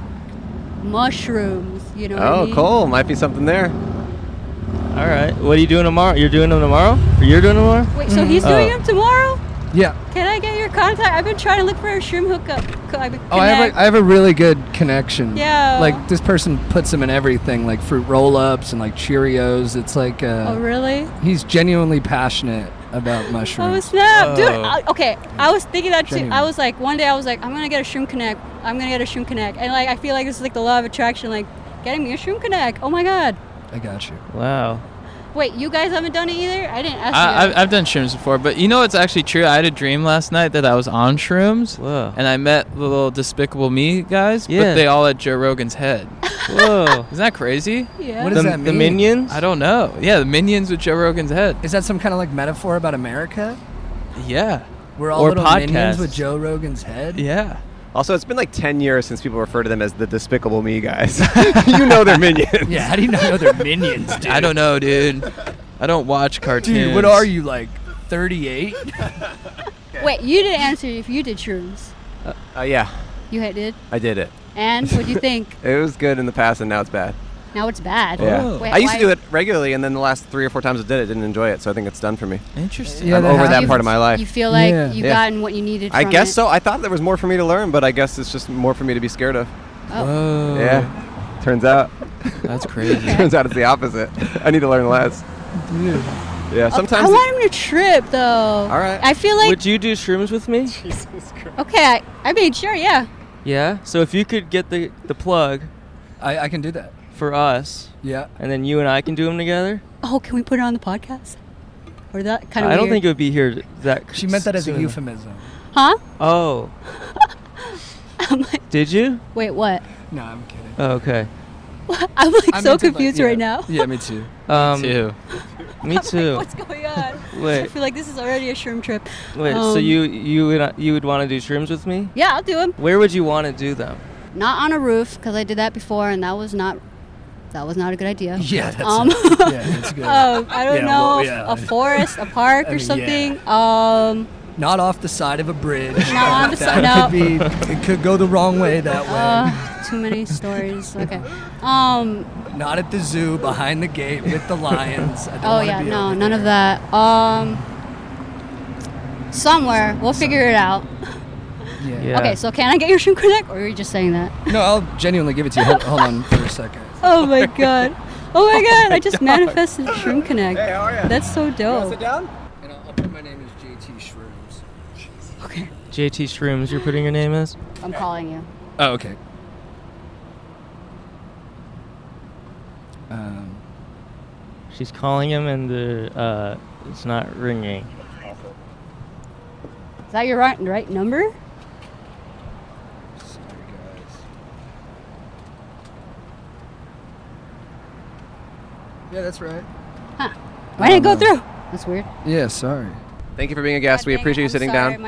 S10: mushrooms. You know. what I
S2: Oh,
S10: mean?
S2: Cole, might be something there.
S1: All right. What are you doing tomorrow? You're doing them tomorrow? Or you're doing them tomorrow?
S10: Wait, so he's
S1: Oh.
S10: doing them tomorrow?
S5: Yeah.
S10: Can I get your contact? I've been trying to look for a shroom hookup. Co- I've been
S5: Oh, I have,
S10: connect-
S5: a, I have a really good connection.
S10: Yeah.
S5: Like this person puts him in everything, like fruit roll-ups and like Cheerios. It's like uh,
S10: Oh really?
S5: he's genuinely passionate about
S10: Oh
S5: mushrooms.
S10: snap, dude!
S6: Oh.
S10: I, okay, I was thinking that too.
S5: Genuine.
S10: I was like, one day I was like, I'm gonna get a shroom connect. I'm gonna get a shroom connect, and like I feel like this is like the law of attraction. Like, getting me a shroom connect. Oh my god!
S5: I got you.
S1: Wow.
S10: Wait, you guys haven't done it either? I didn't ask.
S6: I,
S10: you
S6: I've,
S10: guys.
S6: I've done shrooms before, but you know it's actually true. I had a dream last night that I was on shrooms,
S1: Whoa.
S6: and I met the little Despicable Me guys,
S1: Yeah.
S6: but they all had Joe Rogan's head.
S1: Whoa.
S6: [LAUGHS] Isn't that crazy?
S10: yeah.
S5: What
S1: the,
S5: does that
S1: the
S5: mean?
S1: minions?
S6: I don't know. Yeah, the minions with Joe Rogan's head.
S5: Is that some kind of like metaphor about America?
S6: Yeah,
S5: We're all
S1: Or
S5: little minions
S1: podcasts.
S5: with Joe Rogan's head.
S6: yeah.
S2: Also, it's been like 10 years since people refer to them as the Despicable Me guys. [LAUGHS] you know
S6: [LAUGHS]
S2: they're minions.
S5: Yeah, how do you not know they're minions,
S1: [LAUGHS]
S5: dude?
S6: I don't know, dude. I don't watch cartoons.
S5: Dude, what are you like? 38?
S10: Wait, you didn't answer if you did shrooms.
S2: Uh, yeah,
S10: You had did.
S2: I did it.
S10: And what
S2: [LAUGHS]
S10: do you think?
S2: It was good in the past, and now it's bad.
S10: Now it's bad.
S2: Yeah.
S10: Wait,
S2: I used
S10: why-
S2: to do it regularly, and then the last three or four times I did it, didn't enjoy it, so I think it's done for me.
S6: Interesting.
S5: Yeah,
S2: I'm
S5: that
S2: over that
S5: happens.
S2: part of my life.
S10: You feel like
S5: Yeah.
S10: you've
S2: Yeah.
S10: gotten what you needed.
S2: I
S10: from
S2: guess
S10: it.
S2: so. I thought there was more for me to learn, but I guess it's just more for me to be scared of.
S10: Oh.
S6: Whoa.
S2: Yeah. Turns
S10: [LAUGHS]
S2: out, [LAUGHS]
S6: That's crazy.
S2: turns out it's the opposite. I need to learn less. Yeah. Sometimes.
S10: Oh, I want him to trip though.
S2: All right.
S10: I feel like
S1: Would you do shrooms with me?
S10: okay. I, I made sure. Yeah.
S1: Yeah. So if you could get the, the plug
S5: I, I can do that.
S1: for us,
S5: Yeah.
S1: and then you and I can do them together,
S10: Oh, can we put it on the podcast? Or that kind of.
S1: I don't think it would be here that.
S5: She meant that as a
S1: soon.
S5: euphemism.
S10: Huh?
S1: Oh.
S10: [LAUGHS] I'm like,
S1: Did you?
S10: wait, what? [LAUGHS]
S5: No, I'm kidding.
S1: Oh, okay.
S10: I'm like
S5: I'm into,
S10: so
S5: like,
S10: confused
S5: yeah.
S10: right now. [LAUGHS]
S5: Yeah, me too.
S1: Um,
S6: Too.
S1: Me
S10: Like,
S1: too.
S10: what's going on? I
S1: [LAUGHS] Wait,
S10: feel like this is already a shroom trip.
S1: wait. so
S10: um,
S1: you you would you would want to do shrooms with me?
S10: Yeah, I'll do him.
S1: Where would you want to do them?
S10: Not on a roof because I did that before and that was not. That was not a good idea.
S5: Yeah, that's
S10: [LAUGHS] Um,
S5: it. Yeah, that's
S10: [LAUGHS]
S5: good.
S10: Um, I don't
S5: Yeah,
S10: know,
S5: well, yeah.
S10: a forest, a park,
S5: I
S10: or
S5: mean, yeah.
S10: something. Um,
S5: Not off the side of a bridge.
S10: Not on the
S5: That
S10: side- no.
S5: Could be, it could go the wrong way that way.
S10: uh, too
S5: [LAUGHS]
S10: many stories. Okay. Um,
S5: Not at the zoo, behind the gate with the lions. I don't
S10: oh
S5: wanna
S10: yeah,
S5: be
S10: no,
S5: over
S10: none of
S5: there.
S10: that. Um, somewhere we'll figure it out.
S5: Yeah.
S1: Yeah.
S10: Okay, so can I get your shroom connect, or are you just saying [LAUGHS] that?
S5: No, I'll genuinely give it to you. Hold, hold on for a second.
S10: Oh my god. [LAUGHS] Oh my god, I just manifested Shroom Connect. Hey, how are you? That's so dope.
S5: And I'll, I'll put my name as JT Shrooms.
S10: Okay,
S1: JT Shrooms, you're putting your name as?
S10: I'm calling you.
S5: Oh, okay. Um,
S1: She's calling him, and the uh, it's not ringing.
S10: Is that your right, right number?
S5: sorry, guys. Yeah, that's right.
S10: Why didn't it go
S5: don't know.
S10: through? That's weird.
S5: Yeah, sorry.
S2: Thank you for being a guest. We appreciate you sitting down.
S10: do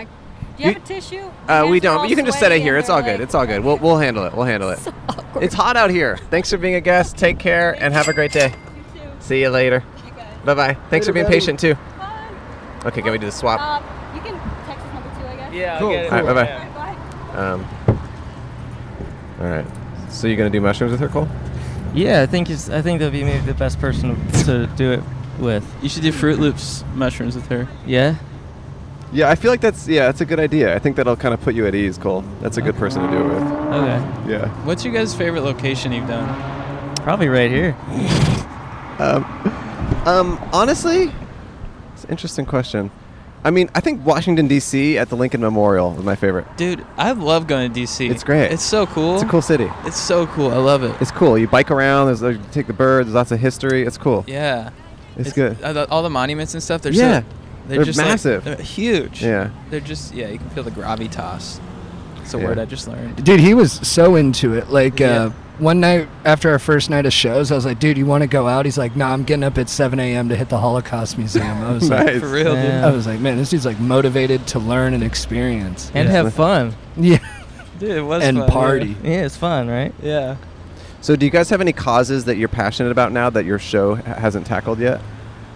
S10: you have
S2: You-
S10: a tissue?
S2: Uh, we don't. but You can just sit it here. It's all good. It's all good. We'll,
S10: [LAUGHS]
S2: we'll handle it. We'll handle it. It's hot out here. Thanks for being a guest. Take care and have a great day. See you later. Bye bye. Thanks for being patient too. Okay, can we do the swap?
S10: Um, you can text us number two, I guess.
S1: Yeah.
S5: Cool.
S2: All right, bye bye.
S10: Alright, bye.
S2: Um, all right. So you're gonna do mushrooms with her, Cole?
S1: Yeah, I think it's, I think that'd be maybe the best person to do it with.
S6: You should do Fruit Loops mushrooms with her.
S1: Yeah.
S2: Yeah, I feel like that's yeah, that's a good idea. I think that'll kind of put you at ease, Cole. That's a good person to do it with.
S1: Okay.
S2: Yeah.
S6: What's your guys' favorite location you've done?
S1: Probably right here.
S2: Um, um, honestly, it's an interesting question. I mean, I think Washington D.C. at the Lincoln Memorial is my favorite.
S6: Dude, I love going to DC.
S2: It's great.
S6: It's so cool.
S2: It's a cool city.
S6: It's so cool. I love it.
S2: It's cool. You bike around. There's like, you take the birds. There's lots of history. It's cool.
S6: yeah.
S2: It's
S6: [LAUGHS]
S2: good.
S6: uh, the- all the monuments and stuff. They're
S2: Yeah.
S6: So,
S2: They're
S6: just like-
S2: massive.
S6: they're huge.
S2: Yeah.
S6: They're just yeah. You can feel the gravitas. It's a
S2: Yeah.
S6: word I just learned.
S5: Dude, he was so into it. Like
S6: Yeah.
S5: uh, one night after our first night of shows, I was like, "Dude, you want to go out?" He's like, "Nah, I'm getting up at 7 a.m. to hit the Holocaust Museum."
S2: [LAUGHS]
S5: I was like,
S2: Nice.
S6: For real, dude.
S1: Yeah.
S5: I was like, "Man, this dude's like motivated to learn and experience."
S1: And have fun.
S5: [LAUGHS] Yeah,
S6: Dude, it was
S5: and
S6: fun, yeah.
S5: party.
S1: Yeah, it's fun, right?
S6: Yeah.
S2: So, do you guys have any causes that you're passionate about now that your show ha- hasn't tackled yet,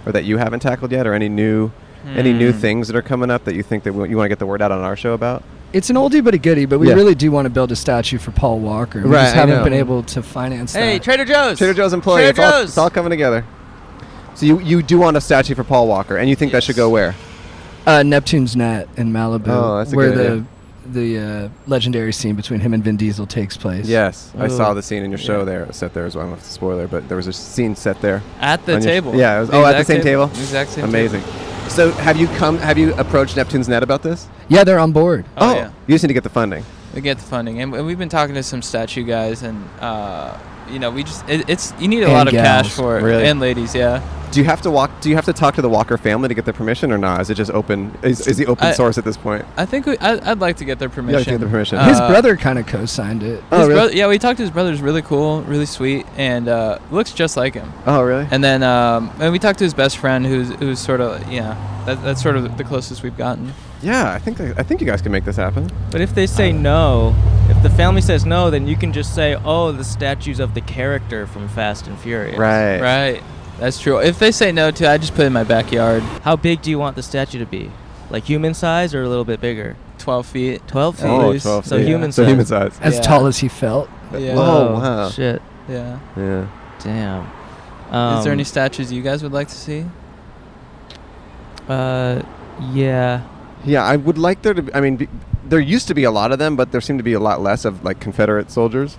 S2: or that you haven't tackled yet, or any new, any new
S5: Hmm.
S2: things that are coming up that you think that we, you want to get the word out on our show about?
S5: It's an oldie but a goodie, but we
S2: Yeah.
S5: really do want to build a statue for Paul Walker. We
S2: Right,
S5: just
S2: I
S5: haven't
S2: know.
S5: been able to finance
S6: Hey,
S5: that.
S6: Trader Joe's.
S2: Trader Joe's employee.
S6: Trader
S2: it's, all,
S6: Joe's.
S2: it's all coming together. So you, you do want a statue for Paul Walker, and you think that should go where?
S5: Uh, Neptune's Net in Malibu,
S2: Oh, that's a
S5: where
S2: good idea.
S5: the the uh, legendary scene between him and Vin Diesel takes place.
S2: Yes, I saw
S5: Oh.
S2: the scene in your show there, set there as well. I don't know if it's a spoiler, but there was a scene set there
S6: At the
S2: on your sh-
S6: table.
S2: yeah, it was,
S6: The
S2: oh, at the
S6: exact
S2: same
S6: table.
S2: table.
S6: The exact same table.
S2: Amazing. So have you come? Have you approached Neptune's Net about this?
S5: Yeah, they're on board.
S6: Oh, yeah.
S2: you just need to get the funding.
S6: We get the funding, and, and we've been talking to some statue guys, and uh, you know, we just it, it's you need a
S2: And
S6: lot of cash
S2: gals,
S6: for it,
S2: really.
S6: and ladies, yeah.
S2: Do you have to walk? Do you have to talk to the Walker family to get their permission, or not? Is it just open? Is, is he open
S6: I-
S2: source at this point?
S6: I think we, I, I'd like to get their
S2: like to
S6: permission.
S2: get the permission. oh,
S5: His
S6: Uh,
S5: brother kind of co-signed it. Oh,
S6: his brother, yeah, we talked to his brother's really cool, really sweet, and uh, looks just like him.
S2: Oh, really?
S6: And then um, and we talked to his best friend, who's who's sort of yeah, that, that's sort of the closest we've gotten.
S2: Yeah, I think I think you guys can make this happen.
S11: But if they say no, if the family says no, then you can just say, "Oh, the statues of the character from Fast and Furious."
S2: Right.
S6: Right. That's true. If they say no to, I just put it in my backyard.
S11: How big do you want the statue to be? Like human size or a little bit bigger?
S6: 12 feet.
S11: 12 feet.
S2: Oh, 12
S11: so
S2: feet.
S11: human
S2: So
S11: size.
S2: human size.
S6: [LAUGHS]
S5: As tall as he felt.
S6: Yeah.
S2: Oh, wow.
S11: Shit.
S6: Yeah.
S2: Yeah.
S11: Damn.
S6: Is there
S11: Um,
S6: any statues you guys would like to see?
S11: Uh, yeah.
S2: Yeah, I would like there to. Be, I mean, be, there used to be a lot of them, but there seem to be a lot less of like Confederate soldiers,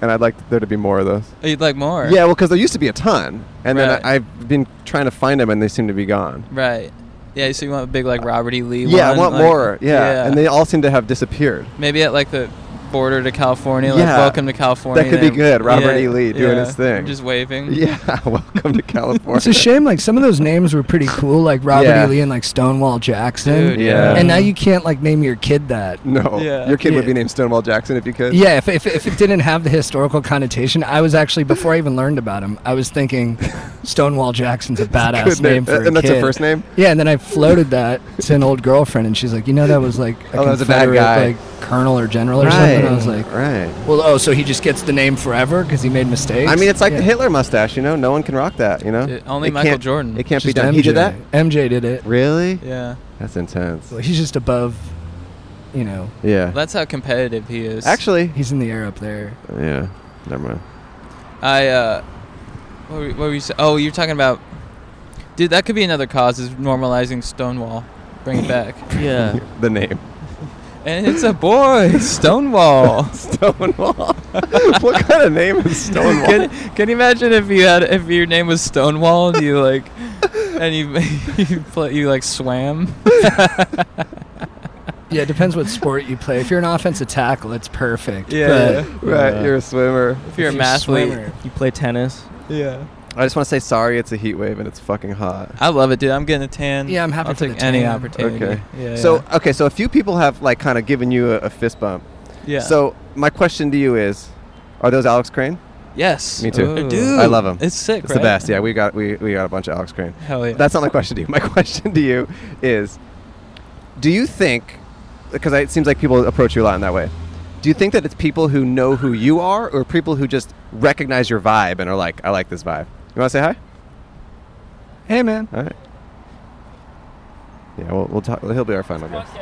S2: and I'd like there to be more of those.
S6: Oh, you'd like more?
S2: Yeah, well, because there used to be a ton, and then
S6: Right.
S2: I, I've been trying to find them, and they seem to be gone.
S6: Right. Yeah. So you want a big like Robert E. Lee?
S2: yeah, I
S6: one,
S2: want
S6: like-
S2: more. Yeah. and they all seem to have disappeared.
S6: Maybe at like the border to California, like
S2: Yeah.
S6: welcome to California.
S2: That could be
S6: and-
S2: good. Robert
S6: Yeah,
S2: E. Lee doing his
S6: yeah.
S2: thing.
S6: Just waving.
S2: Yeah, [LAUGHS] welcome to California. [LAUGHS]
S5: It's a shame. Like some of those names were pretty cool, like Robert
S2: Yeah.
S5: E. Lee and like Stonewall Jackson.
S2: Dude, yeah.
S5: And now you can't like name your kid that.
S2: No, your kid would be named Stonewall Jackson if you could.
S5: Yeah, if, if, if it didn't have the historical connotation, I was actually before I even learned about him, I
S2: [LAUGHS]
S5: was thinking Stonewall Jackson's a badass
S2: Good name.
S5: name for a
S2: And that's her
S5: kid.
S2: first name?
S5: Yeah, and then I floated that to an old girlfriend, and she's like, "You know, that was like a
S2: Oh, that was a bad
S5: Confederate,
S2: guy.
S5: like colonel or general or something." I was like,
S2: right.
S5: "Well, oh, so he just gets the name forever because he made mistakes."
S2: I mean, it's like
S5: Yeah.
S2: the Hitler mustache. You know, no one can rock that. You know,
S6: Dude, only
S2: It
S6: Michael
S2: can't-
S6: Jordan.
S2: It can't be
S5: Just
S2: done. He did that.
S5: MJ did it.
S2: Really?
S6: Yeah.
S2: That's intense.
S5: Well, he's just above, you know.
S2: Yeah.
S6: That's how competitive he is.
S2: Actually,
S5: he's in the air up there.
S2: Yeah. Never mind.
S6: I uh, what were, what were you? sa- Oh, you're talking about, dude. That could be another cause is normalizing Stonewall, bring it back.
S11: Yeah.
S2: [LAUGHS] the name.
S6: And it's a boy, Stonewall.
S2: [LAUGHS] Stonewall. [LAUGHS] what kind of name is Stonewall? [LAUGHS]
S6: Can, can you imagine if you had if your name was Stonewall and you like and you [LAUGHS] you, play, you like swam?
S5: Yeah, it depends what sport you play. If you're an offensive tackle, it's perfect.
S6: Yeah.
S5: but- uh,
S2: Right,
S5: Yeah.
S2: you're a swimmer.
S6: If you're a mathlete.
S5: swimmer.
S11: You play tennis.
S6: Yeah.
S2: I just want to say sorry. It's a heat wave and it's fucking hot.
S6: I love it, dude. I'm getting a tan.
S5: Yeah, I'm happy
S6: I'll
S5: for the
S6: take any
S5: tan.
S6: opportunity.
S2: Okay.
S6: Yeah.
S2: so
S6: yeah.
S2: okay, so a few people have like kind of given you a, a fist bump.
S6: Yeah.
S2: So my question to you is, are those Alex Crane?
S6: Yes.
S2: Me too.
S6: Ooh. Dude,
S2: I love him.
S6: it's sick,
S2: It's
S6: right?
S2: the best. Yeah, we got we, we got a bunch of Alex Crane.
S6: Hell yeah.
S2: That's not my question to you. [LAUGHS] My question to you is, do you think? Because it seems like people approach you a lot in that way. Do you think that it's people who know who you are, or people who just recognize your vibe and are like, "I like this vibe"? You want to say hi?
S5: Hey, man.
S2: All right. Yeah, we'll, we'll talk. He'll be our final guest.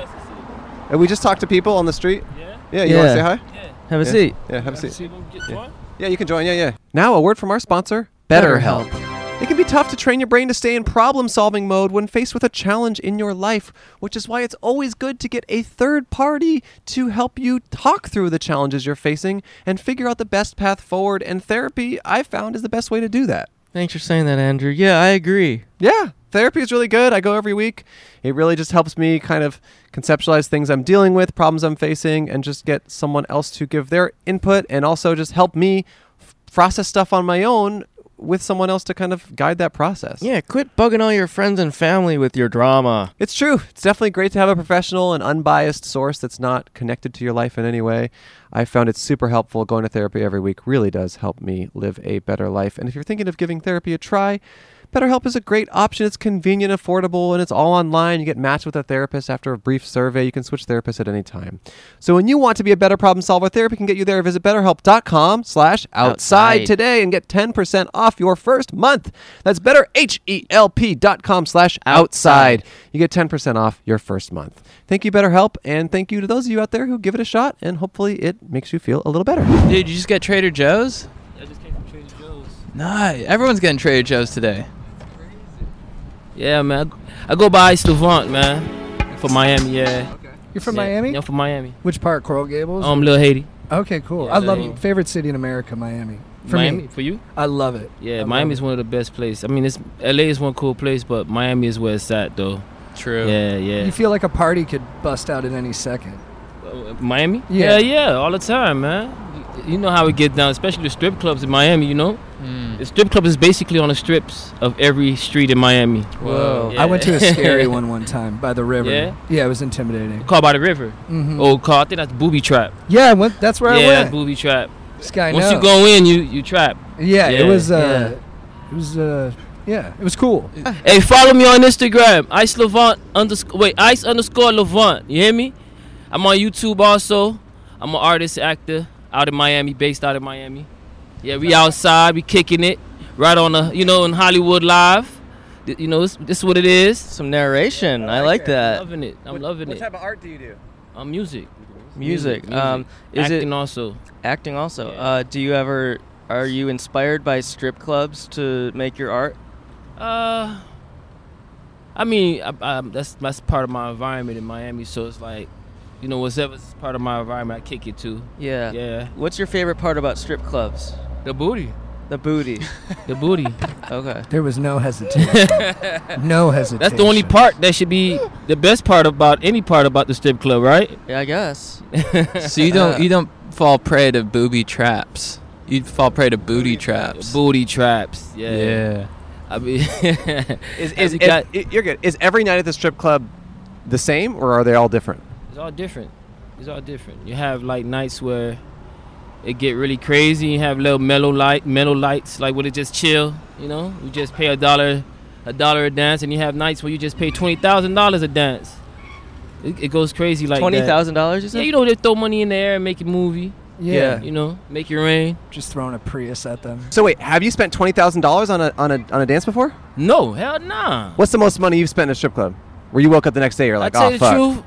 S2: And we just talk to people on the street. Yeah. Yeah. You want
S11: Yeah.
S2: to say hi?
S11: Yeah. Have a
S2: yeah.
S11: seat.
S2: Yeah. Have, a seat. Yeah. yeah, you can join. Yeah, yeah. Now a word from our sponsor,
S11: BetterHelp.
S2: It can be tough to train your brain to stay in problem solving mode when faced with a challenge in your life, which is why it's always good to get a third party to help you talk through the challenges you're facing and figure out the best path forward. And therapy, I found, is the best way to do that.
S11: Thanks for saying that, Andrew. Yeah, I agree.
S2: Yeah, therapy is really good. I go every week. It really just helps me kind of conceptualize things I'm dealing with, problems I'm facing, and just get someone else to give their input and also just help me f- process stuff on my own with someone else to kind of guide that process.
S11: Yeah, quit bugging all your friends and family with your drama.
S2: It's true. It's definitely great to have a professional and unbiased source that's not connected to your life in any way. I found it super helpful. Going to therapy every week really does help me live a better life. And if you're thinking of giving therapy a try, BetterHelp is a great option. It's convenient, affordable, and it's all online. You get matched with a therapist after a brief survey. You can switch therapists at any time. So when you want to be a better problem solver, therapy can get you there. Visit betterhelp.com slash outside
S4: Outside.
S2: today and get 10% off your first month. That's E betterhelp.com slash outside. You get 10% off your first month. Thank you, BetterHelp, and thank you to those of you out there who give it a shot, and hopefully it makes you feel a little better.
S6: Dude, you just got Trader Joe's? Nice. Everyone's getting Trader Joe's today.
S3: Yeah, man. I go by Stuvant, man. For Miami, yeah.
S5: You're from
S3: Yeah,
S5: Miami?
S3: Yeah, from Miami.
S5: Which part? Coral Gables?
S3: Um, Little Haiti.
S5: Okay, cool.
S3: Yeah,
S5: I
S3: Little
S5: love
S3: Haiti.
S5: favorite city in America, Miami. For
S3: Miami,
S5: me,
S3: for you?
S5: I love it.
S3: Yeah,
S5: love
S3: Miami's one of the best places. I mean, it's LA is one cool place, but Miami is where it's at, though.
S6: True.
S3: Yeah, yeah.
S5: You feel like a party could bust out at any second.
S3: Uh, Miami?
S5: Yeah.
S3: yeah, all the time, man. Y- You know how we get down, especially the strip clubs in Miami. You know,
S5: Mm.
S3: the strip club is basically on the strips of every street in Miami.
S5: Whoa. I went to a
S3: [LAUGHS]
S5: scary one one time by the river.
S3: Yeah?
S5: it was intimidating.
S3: Called by the river.
S5: Mhm.
S3: Old car. I think that's booby trap.
S5: Yeah, I went, that's where
S3: yeah,
S5: I
S3: that's
S5: went.
S3: booby trap.
S5: This guy
S3: Once you
S5: knows.
S3: go in, you you trap.
S5: Yeah, it was.
S3: yeah.
S5: Uh, It was. Uh, yeah, it was cool.
S3: Hey, follow me on Instagram, Ice Levant underscore wait Ice underscore Levant. You hear me? I'm on YouTube also. I'm an artist, actor, out in Miami, based out of Miami. Yeah, we outside, we kicking it, right on the you know in Hollywood Live. Th- You know, this, this is what it is. Some narration, I
S1: like that.
S3: I'm loving it. I'm loving it.
S2: of art do you do?
S3: Um, music.
S1: Music. Um, is
S3: acting
S1: it
S3: also?
S1: Acting also. Uh, do you ever? Are you inspired by strip clubs to make your art?
S3: Uh, I mean, I, I, that's that's part of my environment in Miami. So it's like, you know, whatever's part of my environment, I kick it to.
S1: Yeah.
S3: Yeah.
S1: What's your favorite part about strip clubs?
S3: The booty.
S1: The [LAUGHS] booty.
S3: the booty.
S1: Okay.
S5: There was
S3: [LAUGHS]
S5: no hesitation. no hesitation.
S3: That's the only part that should be the best part about any part about the strip club, right?
S1: Yeah, I guess.
S6: [LAUGHS] so you don't you don't fall prey to booby traps. You fall prey to booty, traps.
S3: Booty traps. Yeah.
S6: Yeah.
S3: I mean, [LAUGHS]
S2: Is,
S3: Have
S2: is,
S3: you
S2: if-
S3: got-
S2: i- you're good. Is every night at the strip club the same, or are they all different?
S3: it's all different. It's all different. You have like nights where it get really crazy. You have little mellow light, mellow lights, like where it just chill. You know, you just pay a dollar, a dollar a dance, and you have nights where you just pay twenty thousand dollars a dance. It, it goes crazy like that.
S1: $20,000 you said?
S3: Yeah, you know they throw money in the air and make a movie.
S5: Yeah.
S3: you know, make it rain.
S5: Just throwing a Prius at them.
S2: So wait, have you spent twenty thousand dollars on a on a on a dance before?
S3: No, hell nah.
S2: What's the most money you've spent in a strip club? Where you woke up the next day, you're like,
S3: I tell
S2: oh
S3: you
S2: fuck.
S3: the truth,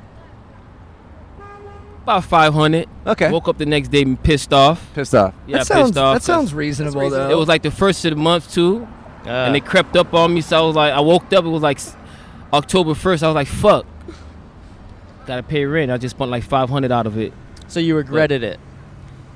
S3: about five hundred.
S2: Okay.
S3: Woke up the next day and pissed off.
S2: Pissed off.
S3: Yeah,
S5: That sounds-
S3: pissed off.
S5: that sounds reasonable,
S3: That's
S5: though.
S3: It was like the first of the month too, and it crept up on me. So I was like, I woke up. It was like s- October first. I was like, fuck. Gotta pay rent. I just spent like five hundred out of it.
S1: So you regretted it?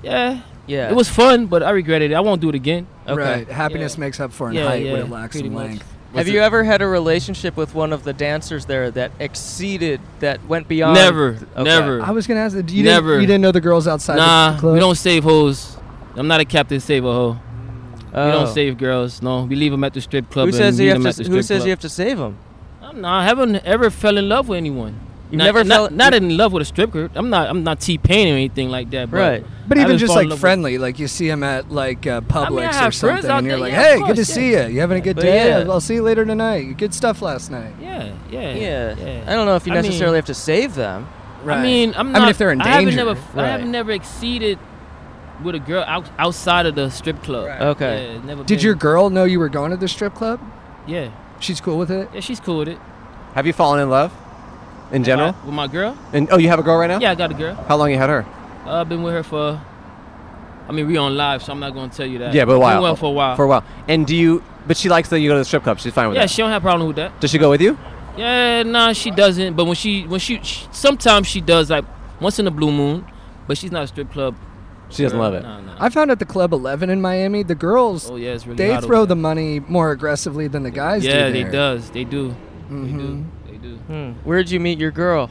S3: Yeah.
S1: Yeah.
S3: It was fun, but I regretted it. I won't do it again.
S5: Right. Happiness makes up for in
S3: Yeah,
S5: height
S3: yeah,
S5: when it lacks
S3: pretty
S5: in
S3: much.
S5: length.
S1: Have you ever had a relationship with one of the dancers there that exceeded, that went beyond?
S3: Never,
S1: Okay.
S3: never.
S5: I was gonna ask, do you
S3: Never.
S5: Didn't, you didn't know the girls outside
S3: Nah,
S5: the club?
S3: we don't save hoes. I'm not a captain save a hoe. We
S1: Oh.
S3: don't save girls. No, we leave them at the strip club.
S1: Who
S3: and
S1: says
S3: meet
S1: you have
S3: 'em
S1: to?
S3: at the
S1: Who
S3: strip
S1: says
S3: club.
S1: you have to save them?
S3: I'm not. I haven't ever fell in love with anyone.
S1: You've
S3: Not-
S1: never
S3: not,
S1: fell-
S3: not in love with a stripper. I'm not. I'm not T Pain or anything like that. But
S1: Right.
S5: But
S3: I
S5: even
S3: haven't
S5: just
S3: fallen in
S5: like
S3: love with-
S5: friendly, like you see him at like uh, Publix or
S3: have friends
S5: something,
S3: out
S5: and you're
S3: there,
S5: like,
S3: yeah,
S5: "Hey,
S3: of
S5: good to
S3: course,
S5: see
S3: yeah.
S5: you. You having a good
S3: But
S5: day?
S3: yeah.
S5: I'll- I'll see you later tonight. Good stuff last night."
S3: Yeah, yeah,
S1: Yeah.
S3: yeah.
S1: I don't know if you
S3: I mean-
S1: necessarily have to save them.
S3: I mean, I'm
S5: I
S3: not.
S5: mean, if they're in
S3: I haven't
S5: danger.
S3: never. I
S1: Right.
S3: have never exceeded with a girl out, outside of the strip club.
S1: Okay.
S3: Yeah, never
S5: Did
S3: been.
S5: your girl know you were going to the strip club?
S3: Yeah.
S5: She's cool with it.
S3: Yeah, she's cool with it. Uh,
S2: Have you fallen in love? In general?
S3: With my girl.
S2: And oh, you have a girl right now?
S3: Yeah, I got a girl.
S2: How long you had her?
S3: Uh, I've been with her for. I mean, we on live, so I'm not gonna tell you that.
S2: Yeah, but a
S3: We
S2: while.
S3: went Uh, for a while.
S2: For a while. And do you? But she likes that you go to the strip club. She's fine with
S3: Yeah,
S2: that.
S3: she don't have problem with that.
S2: Does she go with you?
S3: Yeah, nah, she doesn't. But when she, when she, she sometimes she does like once in a blue moon, but she's not a strip club.
S2: She doesn't
S3: girl.
S2: love it.
S3: Nah, nah.
S5: I found at the Club 11 in Miami, the girls,
S3: Oh, yeah, it's really
S5: they
S3: hot over
S5: throw
S3: there.
S5: the money more aggressively than the guys
S3: yeah,
S5: do.
S3: they
S5: there.
S3: does. They do. They do. They do.
S1: Where'd you meet your girl?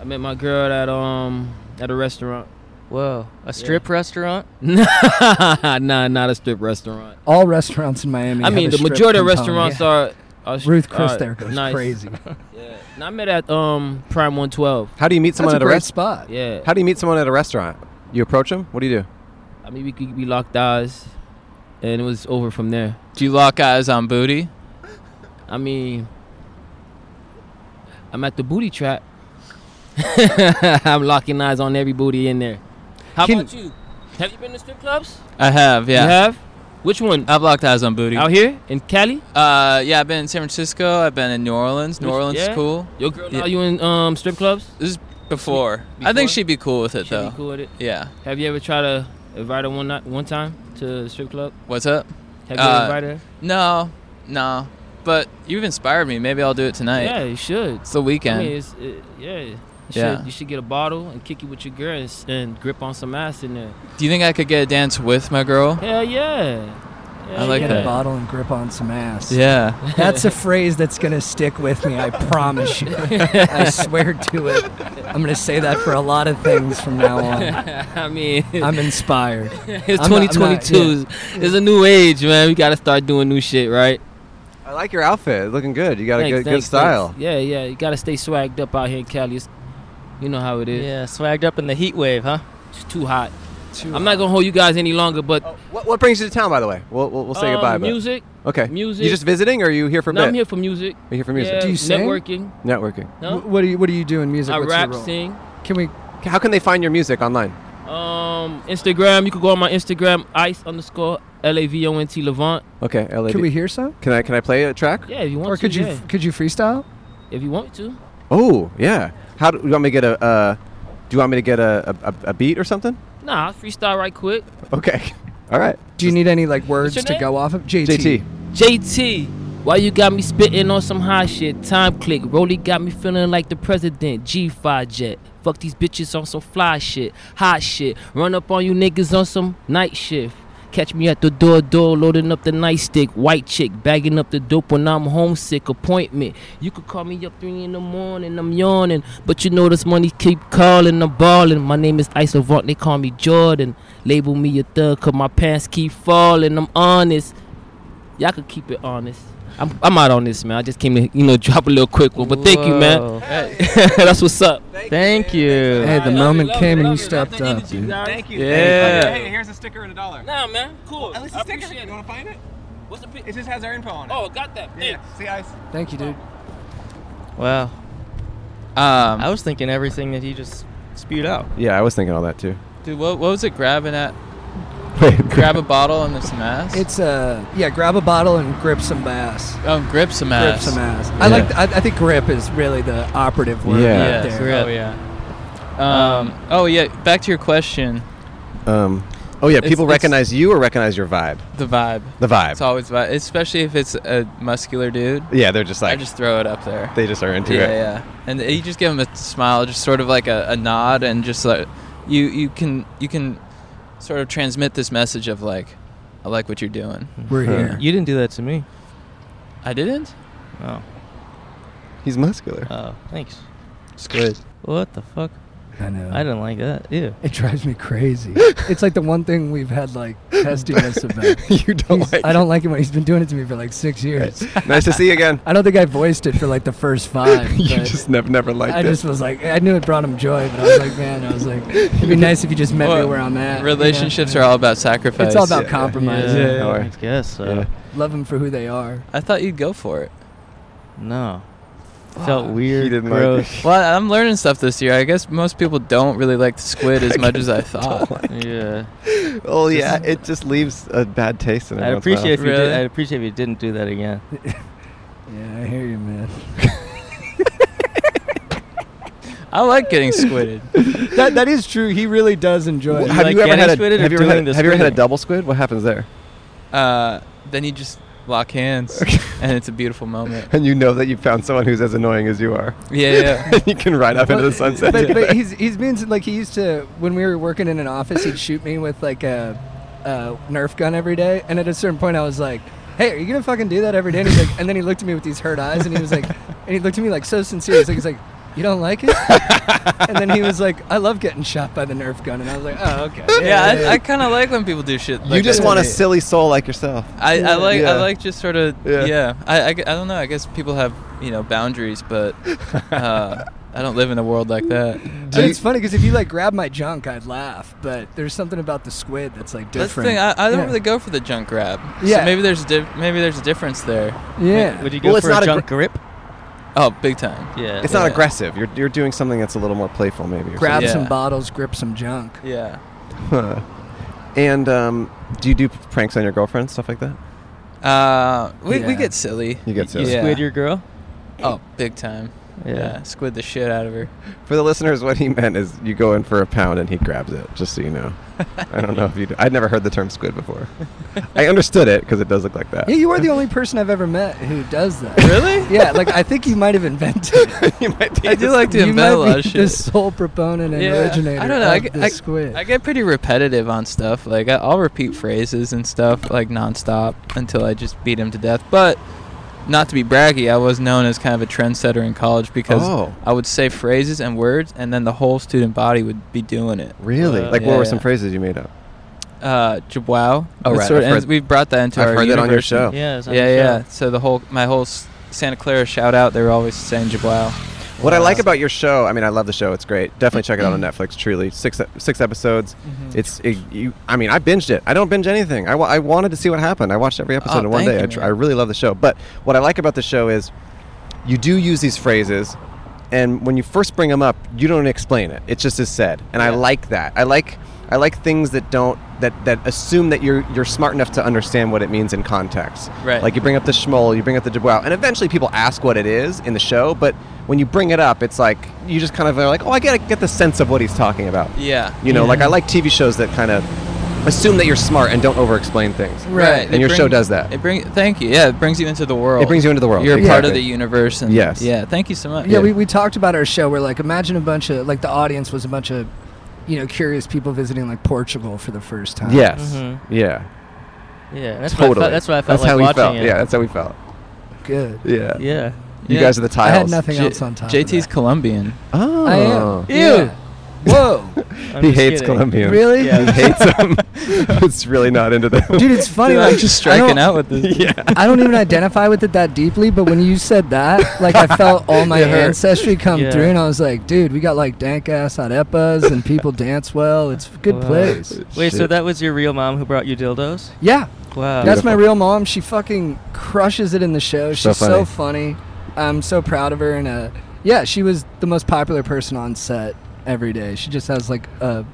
S3: I met my girl at um at a restaurant.
S1: Whoa, a strip restaurant?
S3: nah, not a strip restaurant.
S5: All restaurants in Miami.
S3: I
S5: have
S3: mean,
S5: a
S3: the
S5: strip
S3: majority of
S5: component.
S3: restaurants
S5: Yeah.
S3: are, are.
S5: Ruth Chris
S3: are
S5: there goes
S3: nice. [LAUGHS]
S5: crazy.
S3: Yeah, and I met at um Prime One Twelve.
S2: How do you meet
S5: That's
S2: someone
S5: a
S2: at a
S5: great
S2: restaurant?
S5: spot.
S3: Yeah.
S2: How do you meet someone at a restaurant? You approach them. What do you do?
S3: I mean, we we locked eyes, and it was over from there.
S6: Do you lock eyes on booty?
S3: I mean, I'm at the booty trap. [LAUGHS] I'm locking eyes on every booty in there. How
S6: Can-
S3: about you? Have you been to strip clubs?
S6: I have, yeah.
S3: You have? Which one?
S6: I've locked eyes on booty.
S4: Oh,
S3: Out here in Cali?
S6: Uh, yeah, I've been in San Francisco. I've been in New Orleans. New
S3: Which-
S6: Orleans
S3: yeah?
S6: is cool.
S3: Your girl now you in um strip clubs?
S6: This is before. I think she'd be cool with it
S3: Should
S6: though.
S3: be cool with it.
S6: Yeah.
S3: Have you ever tried to invite her one night, one time to the strip club?
S6: What's up?
S3: Have you
S6: Uh,
S3: invited her?
S6: No, no. But you've inspired me. Maybe I'll do it tonight.
S3: Yeah, you should.
S6: It's the weekend.
S3: I mean, it's, it, yeah. You
S6: Yeah.
S3: Should, you should get a bottle and kick it with your girl and, s- and grip on some ass in there.
S6: do you think I could get a dance with my girl?
S3: Hell yeah.
S6: I like
S5: Get
S6: that.
S5: a bottle and grip on some ass.
S6: Yeah.
S5: That's
S3: [LAUGHS]
S5: a phrase that's going to stick with me, I promise you. I swear to it. I'm going to say that for a lot of things from
S3: [LAUGHS]
S5: now on.
S3: I mean,
S5: I'm inspired.
S3: [LAUGHS] it's
S5: I'm not- I'm not-
S3: 2022. It's a new age, man. We got to start doing new shit, right?
S2: I like your outfit. Looking good. You got a
S3: Thanks,
S2: good, good
S3: thanks,
S2: style.
S3: thanks. Yeah, yeah. You got to stay swagged up out here in Cali. It's- you know how it is.
S11: Yeah, swagged up in the heat wave, huh?
S3: It's too hot. I'm not going to hold you guys any longer, but.
S2: Oh, What, what brings you to town, by the way? We'll, we'll, we'll say
S3: Uh,
S2: goodbye. but-
S3: music,
S2: Okay.
S3: music.
S2: You just visiting, or are you here for a
S3: No,
S2: bit?
S3: I'm here for music.
S2: You're here for music.
S3: Yeah,
S2: Do you sing?
S3: Networking.
S2: Networking.
S3: No?
S5: Wh- What do you What do you do in music?
S3: I
S5: What's your
S3: rap,
S5: role?
S3: sing.
S5: Can we?
S2: How can they find your music online?
S3: Um, Instagram. You can go on my Instagram, ice underscore L A V O N T Levant.
S2: Okay, LA.
S5: Can we hear some?
S2: Can I can I play a track?
S3: Yeah, if you want
S5: Or
S3: to.
S5: could you
S3: yeah.
S5: Could you freestyle?
S3: if you want to.
S2: Oh yeah. How do you want me to get a? Uh, do you want me to get a, a, a beat or something? [LAUGHS]
S3: Nah, I'll freestyle right quick.
S2: Okay. All right.
S5: Do you need any like words
S3: your
S5: to
S3: name?
S5: go off of? JT.
S2: JT.
S3: JT, why you got me spitting on some high shit? Time click. Rolly got me feeling like the president. G5 jet. Fuck these bitches on some fly shit. Hot shit. Run up on you niggas on some night shift. Catch me at the door, door, loading up the nightstick. White chick, bagging up the dope when I'm homesick. Appointment. You could call me up three in the morning. I'm yawning, but you know this money keep calling. I'm balling. My name is Ice Avant. They call me Jordan. Label me a thug, cause my pants keep falling. I'm honest. Y'all could keep it honest. I'm, I'm out on this, man. I just came to, you know, [LAUGHS] drop a little quick one. But thank you,
S11: Whoa.
S3: man. [LAUGHS] That's what's up.
S11: Thank you.
S5: Hey, the moment came and you stepped up, dude.
S11: Thank
S3: you. Yeah.
S8: Hey, hey, here's a sticker and a dollar.
S3: Nah, man. Cool.
S8: At least a sticker. You want to find it?
S3: What's the pic?
S8: It just has our info on it.
S3: Oh, got that.
S8: Yeah. See, I.
S5: Thank you, dude.
S11: Wow.
S6: Um,
S11: I was thinking everything that he just spewed out.
S2: Yeah, I was thinking all that too.
S6: Dude, what, what was it grabbing at?
S2: [LAUGHS] Wait,
S6: [LAUGHS] Grab a bottle and there's some ass?
S5: It's uh, yeah. Grab a bottle and grip some ass.
S6: Oh, grip some
S5: Grip
S6: ass.
S5: some ass. I like. th- I, I think grip is really the operative word.
S2: Yeah.
S5: right
S6: Yes,
S5: there.
S6: Oh, yeah. Um, oh, yeah. Back to your question.
S2: Um. Oh yeah.
S6: It's-
S2: People
S6: it's-
S2: recognize you or recognize your vibe.
S6: The vibe.
S2: The vibe.
S6: It's always vibe. Especially if it's a muscular dude.
S2: Yeah, they're just
S6: I
S2: like
S6: just throw it up there.
S2: they just are into
S6: yeah,
S2: it.
S6: Yeah, And you just give them a smile, just sort of like a, a nod, and just like you you can you can sort of transmit this message of like, I like what you're doing.
S5: We're here.
S11: You didn't do that to me.
S6: I didn't.
S11: Oh.
S2: He's muscular.
S4: Uh,
S11: Oh, thanks.
S6: It's good.
S11: What the fuck?
S5: I know.
S11: I didn't like that. Ew.
S5: It drives me [LAUGHS] crazy. it's like the one thing we've had like [LAUGHS] testiness about.
S2: [LAUGHS] you don't
S5: He's-
S2: like.
S5: I don't like him when he's been doing it to me for like six years.
S2: [LAUGHS]
S5: [LAUGHS]
S2: nice to see you again.
S5: I don't think I voiced it for like the [LAUGHS] first five.
S2: [LAUGHS] you
S5: but
S2: just never never liked
S5: I
S2: it.
S5: just was like, I knew it brought him joy, but I was like, man, I was like, [LAUGHS] it'd be nice if you just met me where I'm at. you know?
S6: Relationships are all about sacrifice.
S5: It's all about
S2: Yeah.
S5: compromise.
S2: Yeah, yeah,
S11: I guess so.
S1: Uh,
S2: Yeah.
S5: Love them for who they are.
S6: I thought you'd go for it.
S11: No. Felt
S2: He
S11: weird.
S2: didn't like
S11: gross.
S2: it. [LAUGHS]
S6: Well, I'm learning stuff this year. I guess most people don't really like the squid
S5: [LAUGHS]
S6: as much as I thought.
S11: Yeah.
S2: Oh yeah, it just leaves a bad taste in
S11: I'd
S2: everyone's
S11: appreciate if
S2: mouth.
S11: you did,
S6: Really?
S11: I'd appreciate if you didn't do that again.
S5: Yeah, I hear you, man.
S2: [LAUGHS]
S6: I like getting squidded.
S5: [LAUGHS] that that is true. He really does enjoy it.
S11: Wha-
S2: Have
S11: like
S2: you ever
S11: getting
S2: had a
S11: squidded or
S2: have you ever
S11: doing the
S2: had have you ever had a
S11: squidding?
S2: double squid? What happens there?
S6: Uh, then you just lock hands, and it's a beautiful moment.
S2: [LAUGHS] And you know that you found someone who's as annoying as you are.
S11: [LAUGHS]
S6: Yeah, yeah.
S2: [LAUGHS] you can ride up into the sunset.
S5: But, but
S2: together.
S5: he's he's been like he used to when we were working in an office. He'd shoot me with like a, a Nerf gun every day, and at a certain point, I was like, "Hey, are you gonna fucking do that every day?" And he's like, and then he looked at me with these hurt eyes, and he was like, and he looked at me like so sincere. He's like, he's like, "You don't like it?" and then he was like, "I love getting shot by the Nerf gun," and I was like, "Oh, okay."
S6: Yeah, I, I kind of like when people do shit.
S2: you
S6: like
S2: just
S6: that.
S2: want a
S6: Yeah.
S2: silly soul like yourself.
S6: I, I like
S2: Yeah.
S6: I like just sort of
S2: Yeah. [LAUGHS]
S6: yeah. I, I, gu- I don't know. I guess people have you know boundaries, but uh, I don't live in a world like that.
S5: And it's funny because if you like grab my junk, I'd laugh. But there's something about the squid that's like
S6: That's the
S5: different.
S6: thing. I, I don't
S5: Yeah.
S6: really go for the junk grab.
S5: Yeah.
S6: So maybe there's a dif- maybe there's a difference there.
S5: Yeah.
S11: Would you go for a junk grip?
S6: Oh, big time. Yeah.
S2: It's not aggressive. You're, you're doing something that's a little more playful, maybe. or
S5: grab
S2: something.
S5: some bottles, grip some junk.
S6: Yeah.
S2: Huh. [LAUGHS] And um, do you do pranks on your girlfriend, stuff like that?
S6: Uh, we,
S11: Yeah.
S6: we get silly.
S2: You get silly.
S6: Yeah.
S11: Squid your girl?
S6: Oh, big time.
S11: Yeah.
S6: Squid the shit out of her.
S2: For the listeners, what he meant is you go in for a pound and he grabs it, just so you know. I don't know if you. I'd never heard the term squid before. I understood it because it does look like that.
S5: Yeah, you are the only person I've ever met who does that.
S6: Really?
S5: [LAUGHS] yeah, like I think you might have invented. It.
S2: [LAUGHS] [LAUGHS] you might
S6: I do like to
S5: you
S6: invent
S5: might
S6: a lot of
S5: be
S6: shit.
S5: The sole proponent and originator.
S6: I don't know.
S5: Of
S6: I, get-
S5: the
S6: I-
S5: squid.
S6: I get pretty repetitive on stuff. Like I, I'll repeat phrases and stuff like nonstop until I just beat him to death. But not to be braggy, I was known as kind of a trendsetter in college because
S2: Oh.
S6: I would say phrases and words, and then the whole student body would be doing it.
S2: Really?
S11: Uh,
S2: like, what were
S6: yeah.
S2: some phrases you made up?
S6: Uh, Jabwow.
S2: Oh,
S6: It
S2: right,
S6: sort of
S2: I've
S6: ends-
S2: heard-
S6: we've brought that into
S2: I've
S6: our
S2: heard that on your
S6: university.
S3: Oh.
S2: show.
S11: Yeah, it was on
S6: yeah,
S11: your
S6: yeah.
S11: show.
S6: So the whole my whole s- Santa Clara shout out, they were always saying Jabwow.
S2: What I like about your show, I mean, I love the show. It's great. Definitely check it out on
S6: Mm-hmm.
S2: Netflix. Truly, six six episodes. It's it, you. I mean, I binged it. I don't binge anything. I, wa- I wanted to see what happened. I watched every episode
S6: Oh,
S2: in one
S6: thank
S2: day.
S6: you,
S2: I, tr-
S6: man.
S2: I really love the show. But what I like about the show is, you do use these phrases, and when you first bring them up, you don't explain it. It just is said, and I like that. I like I like things that don't that that assume that you're you're smart enough to understand what it means in context.
S6: Right.
S2: Like you bring up the schmoll, you bring up the jabwow, and eventually people ask what it is in the show. But when you bring it up, it's like you just kind of are like, oh, I gotta get the sense of what he's talking about.
S6: Yeah.
S2: You know, like I like TV shows that kind of assume that you're smart and don't over-explain things.
S6: Right.
S2: And
S6: it
S2: your show
S6: brings-
S2: does that.
S6: It brings. Thank you. Yeah, it brings you into the world.
S2: It brings you into the world,
S6: You're part of
S2: exactly.
S6: the universe. And
S2: Yes.
S6: Yeah. Thank you so much.
S5: Yeah, we, we talked about our show where like imagine a bunch of like the audience was a bunch of you know curious people visiting like Portugal for the first time.
S2: Yes.
S11: Mhm.
S2: Yeah.
S11: Yeah, that's
S2: totally.
S11: What I felt, that's what I felt
S2: That's
S11: like
S2: how we
S11: watching
S2: felt.
S11: it.
S2: Yeah, that's how we felt.
S5: Good.
S2: Yeah.
S11: Yeah.
S2: You
S6: Yeah.
S2: guys are the
S5: I
S2: tiles.
S5: had nothing else on top.
S6: JT's Colombian.
S2: Oh.
S5: I
S2: [LAUGHS]
S5: am. Yeah. Whoa.
S11: I'm
S2: he
S11: just
S2: hates
S11: kidding.
S2: Colombians.
S5: Really?
S2: He hates them. [LAUGHS] it's really not into them.
S5: Dude, it's funny.
S6: Dude,
S5: like
S6: I'm just
S5: I
S6: striking
S5: don't-
S6: out with
S2: [LAUGHS]
S6: this.
S2: yeah.
S5: I don't even identify with it that deeply, but when you said that, like I felt
S11: [LAUGHS]
S5: all my
S2: It hurt.
S5: ancestry come
S11: Yeah.
S5: through, and I was like, dude, we got like dank ass arepas,
S11: [LAUGHS]
S5: and people dance well. It's a good
S11: Wow.
S5: place.
S11: Wait, so
S2: Shit.
S11: that was your real mom who brought you dildos?
S5: Yeah,
S11: Wow.
S5: that's my
S2: Beautiful.
S5: real mom. She fucking crushes it in the show. She's
S2: So
S5: so funny. I'm so proud of her, and uh, yeah, she was the most popular person on set every day. She just has like a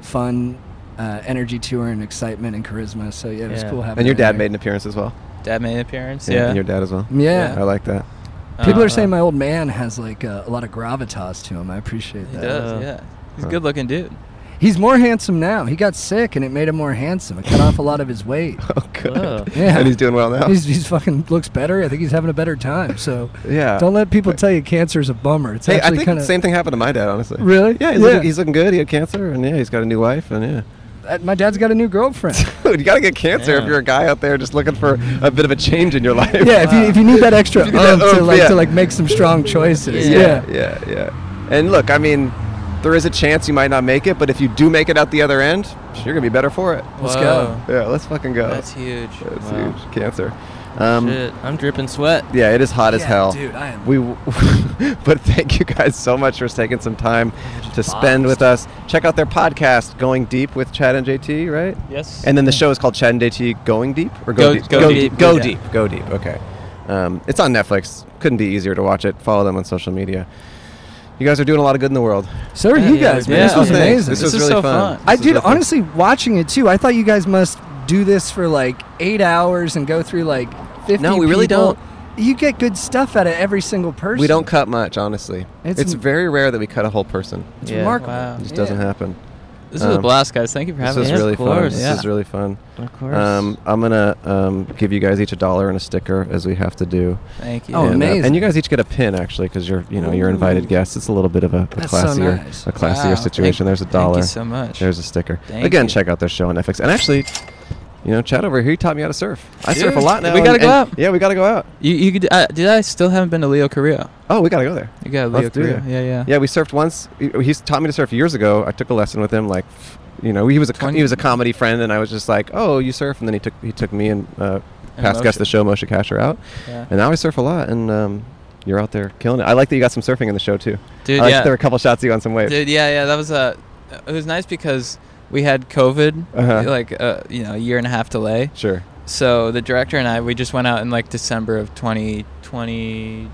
S5: fun. Uh, energy to her and excitement and charisma. So yeah, it was
S11: Yeah.
S5: cool having.
S2: And your
S5: her
S2: dad
S5: there.
S2: made an appearance as well.
S6: Dad made an appearance. Yeah.
S2: And your dad as well.
S5: Yeah.
S2: I like that. [LAUGHS]
S5: People
S2: Uh-huh.
S6: Uh,
S5: are saying my old man has like uh, a lot of gravitas to him. I appreciate
S6: He
S5: that.
S6: does.
S11: Uh,
S6: yeah. He's a
S2: huh.
S6: good looking dude.
S5: He's more handsome now. He got sick and it made him more handsome. It cut off a lot of
S2: [LAUGHS]
S5: his weight.
S2: Oh, good.
S11: Whoa.
S5: Yeah.
S2: And he's doing well now.
S5: He's, he's fucking looks better. I think he's having a better time. So
S2: yeah.
S5: don't let people tell you cancer is a bummer. It's
S2: Hey, I
S5: actually
S2: think
S5: kind
S2: the
S5: of
S2: same thing happened to my dad, honestly.
S5: Really?
S2: Yeah, he's,
S5: Yeah.
S2: Looking, he's looking good. He had cancer, and yeah, he's got a new wife, and yeah. [LAUGHS]
S5: Uh, My dad's got a new girlfriend. [LAUGHS]
S2: Dude, you gotta get cancer if
S11: Yeah.
S2: you're a guy out there just looking for a bit of a change in your life.
S5: yeah, if you if you need that extra
S2: [LAUGHS] If you need that
S5: oomph to
S2: oomph,
S5: like
S2: yeah.
S5: to like make some strong choices. Yeah.
S2: yeah, [LAUGHS] yeah, yeah. And look, I mean, there is a chance you might not make it, but if you do make it out the other end, you're gonna be better for it.
S5: Let's go.
S6: Whoa.
S2: Yeah, let's fucking go.
S6: That's huge.
S2: That's
S11: Wow.
S2: huge. Cancer. Um,
S11: Shit, I'm dripping sweat.
S2: Yeah, it is hot as
S5: Yeah,
S2: hell.
S5: dude, I am-
S2: We, w- [LAUGHS] but thank you guys so much for taking some time to spend with us. Check out their podcast, Going Deep with Chad and JT, right?
S6: Yes.
S2: And then the show is called Chad and JT Going Deep or
S6: Go- Go Deep,
S2: Go
S6: yeah.
S2: Deep. Go Deep. Okay. Um, it's on Netflix. Couldn't be easier to watch it. Follow them on social media. You guys are doing a lot of good in the world.
S5: So are you guys, man.
S6: yeah,
S5: this was
S2: thanks.
S5: amazing.
S2: This, was
S6: is
S2: really
S6: so
S2: fun.
S6: fun.
S5: I
S2: This was
S5: dude,
S2: really fun.
S5: honestly, watching it too, I thought you guys must do this for like eight hours and go through like fifty.
S2: No, we really
S5: people.
S2: don't.
S5: You get good stuff out of every single person.
S2: we don't cut much, honestly. It's,
S5: It's-
S2: very rare that we cut a whole person.
S5: It's
S11: Yeah.
S5: remarkable.
S6: Wow.
S2: It just
S5: Yeah.
S2: doesn't happen.
S6: This was a
S2: Um,
S6: blast, guys. Thank you for
S2: This
S6: having
S2: was
S6: us.
S11: yeah, of
S2: really fun.
S11: course.
S2: This
S11: Yeah.
S2: is really fun.
S11: Of course.
S2: Um, I'm gonna um, give you guys each a dollar and a sticker as we have to do.
S6: Thank you.
S5: Oh,
S2: and, uh,
S5: amazing.
S2: and you guys each get a pin actually because you're you know you're invited guests. It's a little bit of a, a
S5: That's so
S2: classier
S5: nice.
S2: a classier
S6: Wow.
S2: situation.
S6: Thank-
S2: There's a
S6: thank
S2: dollar.
S6: you so much.
S2: There's a sticker.
S6: Thank
S2: Again,
S6: you.
S2: check out their show on FX. And actually, you know, Chad over here he taught me how to surf. I surf a
S6: Dude,
S2: lot now.
S6: we
S2: and-
S6: gotta go
S2: and-
S6: out.
S2: Yeah, we gotta go out.
S6: You, you could, uh, did I still haven't been to Leo Korea?
S2: Oh, we gotta go there.
S6: You got Leo
S2: Let's do
S6: Korea.
S2: that.
S6: Yeah, yeah.
S2: Yeah, we surfed once. He- He's taught me to surf years ago. I took a lesson with him. Like, you know, he was a co-
S6: Twenty-
S2: he was a comedy friend, and I was just like, "Oh, you surf?" And then he took he took me and uh,
S6: And
S2: past guest of
S6: Moshe.
S2: the show Moshe Kasher out,
S6: Yeah.
S2: and now I surf a lot. And um,
S12: You're out there killing it. I like that you got some surfing in the show too.
S6: Dude,
S12: I like that
S6: yeah.
S12: there were a couple shots of you on some waves.
S6: Dude, yeah, yeah, that was uh, it was nice because we had COVID,
S12: Uh-huh.
S6: like uh, you know, a year and a half delay.
S12: Sure.
S6: So the director and I, we just went out in like December of 2020,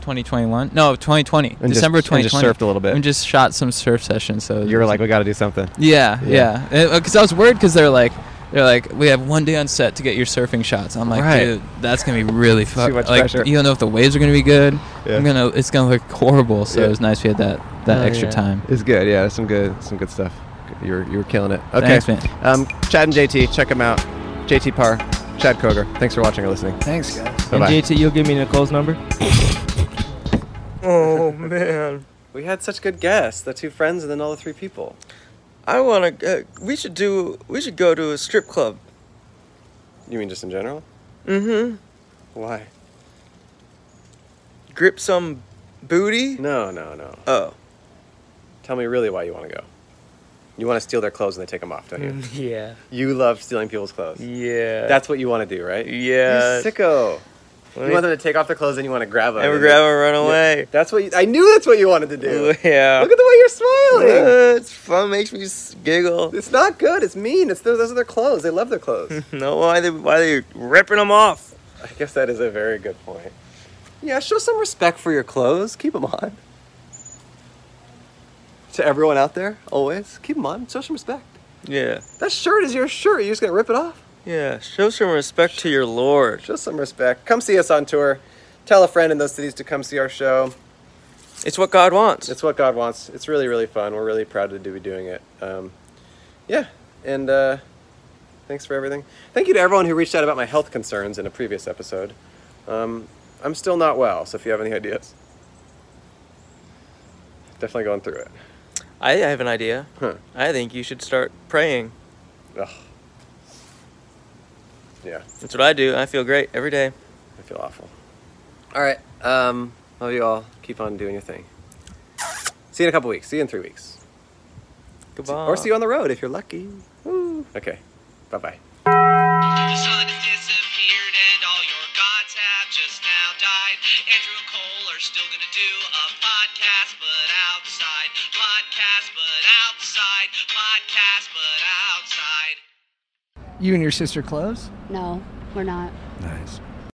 S6: 2021. No, 2020.
S12: And just-
S6: December
S12: and just
S6: 2020.
S12: surfed a little bit.
S6: And just shot some surf sessions. So
S12: You were like, we got to do something.
S6: Yeah, yeah. Because I was worried because they're like, they're like, we have one day on set to get your surfing shots. I'm like,
S12: Right.
S6: dude, that's gonna be really
S12: Too
S6: fucking.
S12: much
S6: like,
S12: pressure.
S6: You don't know if the waves are gonna be good.
S12: Yeah.
S6: I'm gonna, it's gonna look horrible. So it was nice we had that that
S12: Oh,
S6: extra
S12: yeah.
S6: time.
S12: It's good. Yeah, some good, some good stuff. You were, you were killing it. Okay,
S6: Thanks, man.
S12: Um, Chad and JT, check them out. JT Parr, Chad Koger. Thanks for watching or listening.
S5: Thanks, guys.
S12: Bye bye.
S4: And JT, you'll give me Nicole's number?
S1: [LAUGHS] Oh man,
S2: We had such good guests, the two friends and then all the three people.
S1: I want to. Uh, we should do. We should go to a strip club.
S2: You mean just in general?
S1: Mm-hmm.
S2: Why?
S1: Grip some booty.
S2: No, no, no.
S1: Oh.
S2: Tell me really why you want to go. You want to steal their clothes and they take them off, don't you?
S1: [LAUGHS] Yeah.
S2: You love stealing people's clothes.
S1: Yeah.
S2: That's what you want to do, right?
S1: Yeah.
S2: You sicko.
S1: Let
S2: you
S1: me-
S2: want them to take off their clothes and you want to grab them.
S1: And we grab 'em and run away.
S2: That's what you, I knew. That's what you wanted to do.
S1: [LAUGHS] Yeah.
S2: Look at the way you're smiling.
S1: [LAUGHS] Uh, it's fun. Makes me s- giggle. [LAUGHS]
S2: It's not good. It's mean. It's those, those are their clothes. They love their clothes.
S1: No, why they why they ripping them off?
S2: I guess that is a very good point. yeah, show some respect for your clothes. Keep them on. To everyone out there, always keep them on. Show some respect.
S1: Yeah,
S2: That shirt is your shirt. You're just gonna rip it off.
S1: yeah. Show some respect to your lord.
S2: Show some respect. Come see us on tour. Tell a friend in those cities to come see our show.
S1: It's what God wants.
S2: It's what God wants. It's really, really fun. We're really proud to be doing it. Um, yeah, and uh, thanks for everything. Thank you to everyone who reached out about my health concerns in a previous episode. Um, I'm still not well, so if you have any ideas, definitely going through it.
S1: I have an idea.
S2: Huh.
S1: I think you should start praying.
S2: Ugh. Yeah,
S1: That's what I do. I feel great every day.
S2: I feel awful. All right. Um, love you all. Keep on doing your thing. See you in a couple weeks. See you in three weeks.
S1: Goodbye.
S2: Or see you on the road if you're lucky. Woo. Okay. Bye bye.
S3: The sun has disappeared and all your gods have just now died. Andrew and Cole are still gonna do a podcast, but outside. Podcast, but outside. Podcast, but outside.
S5: You and your sister close?
S10: No, we're not.
S5: Nice.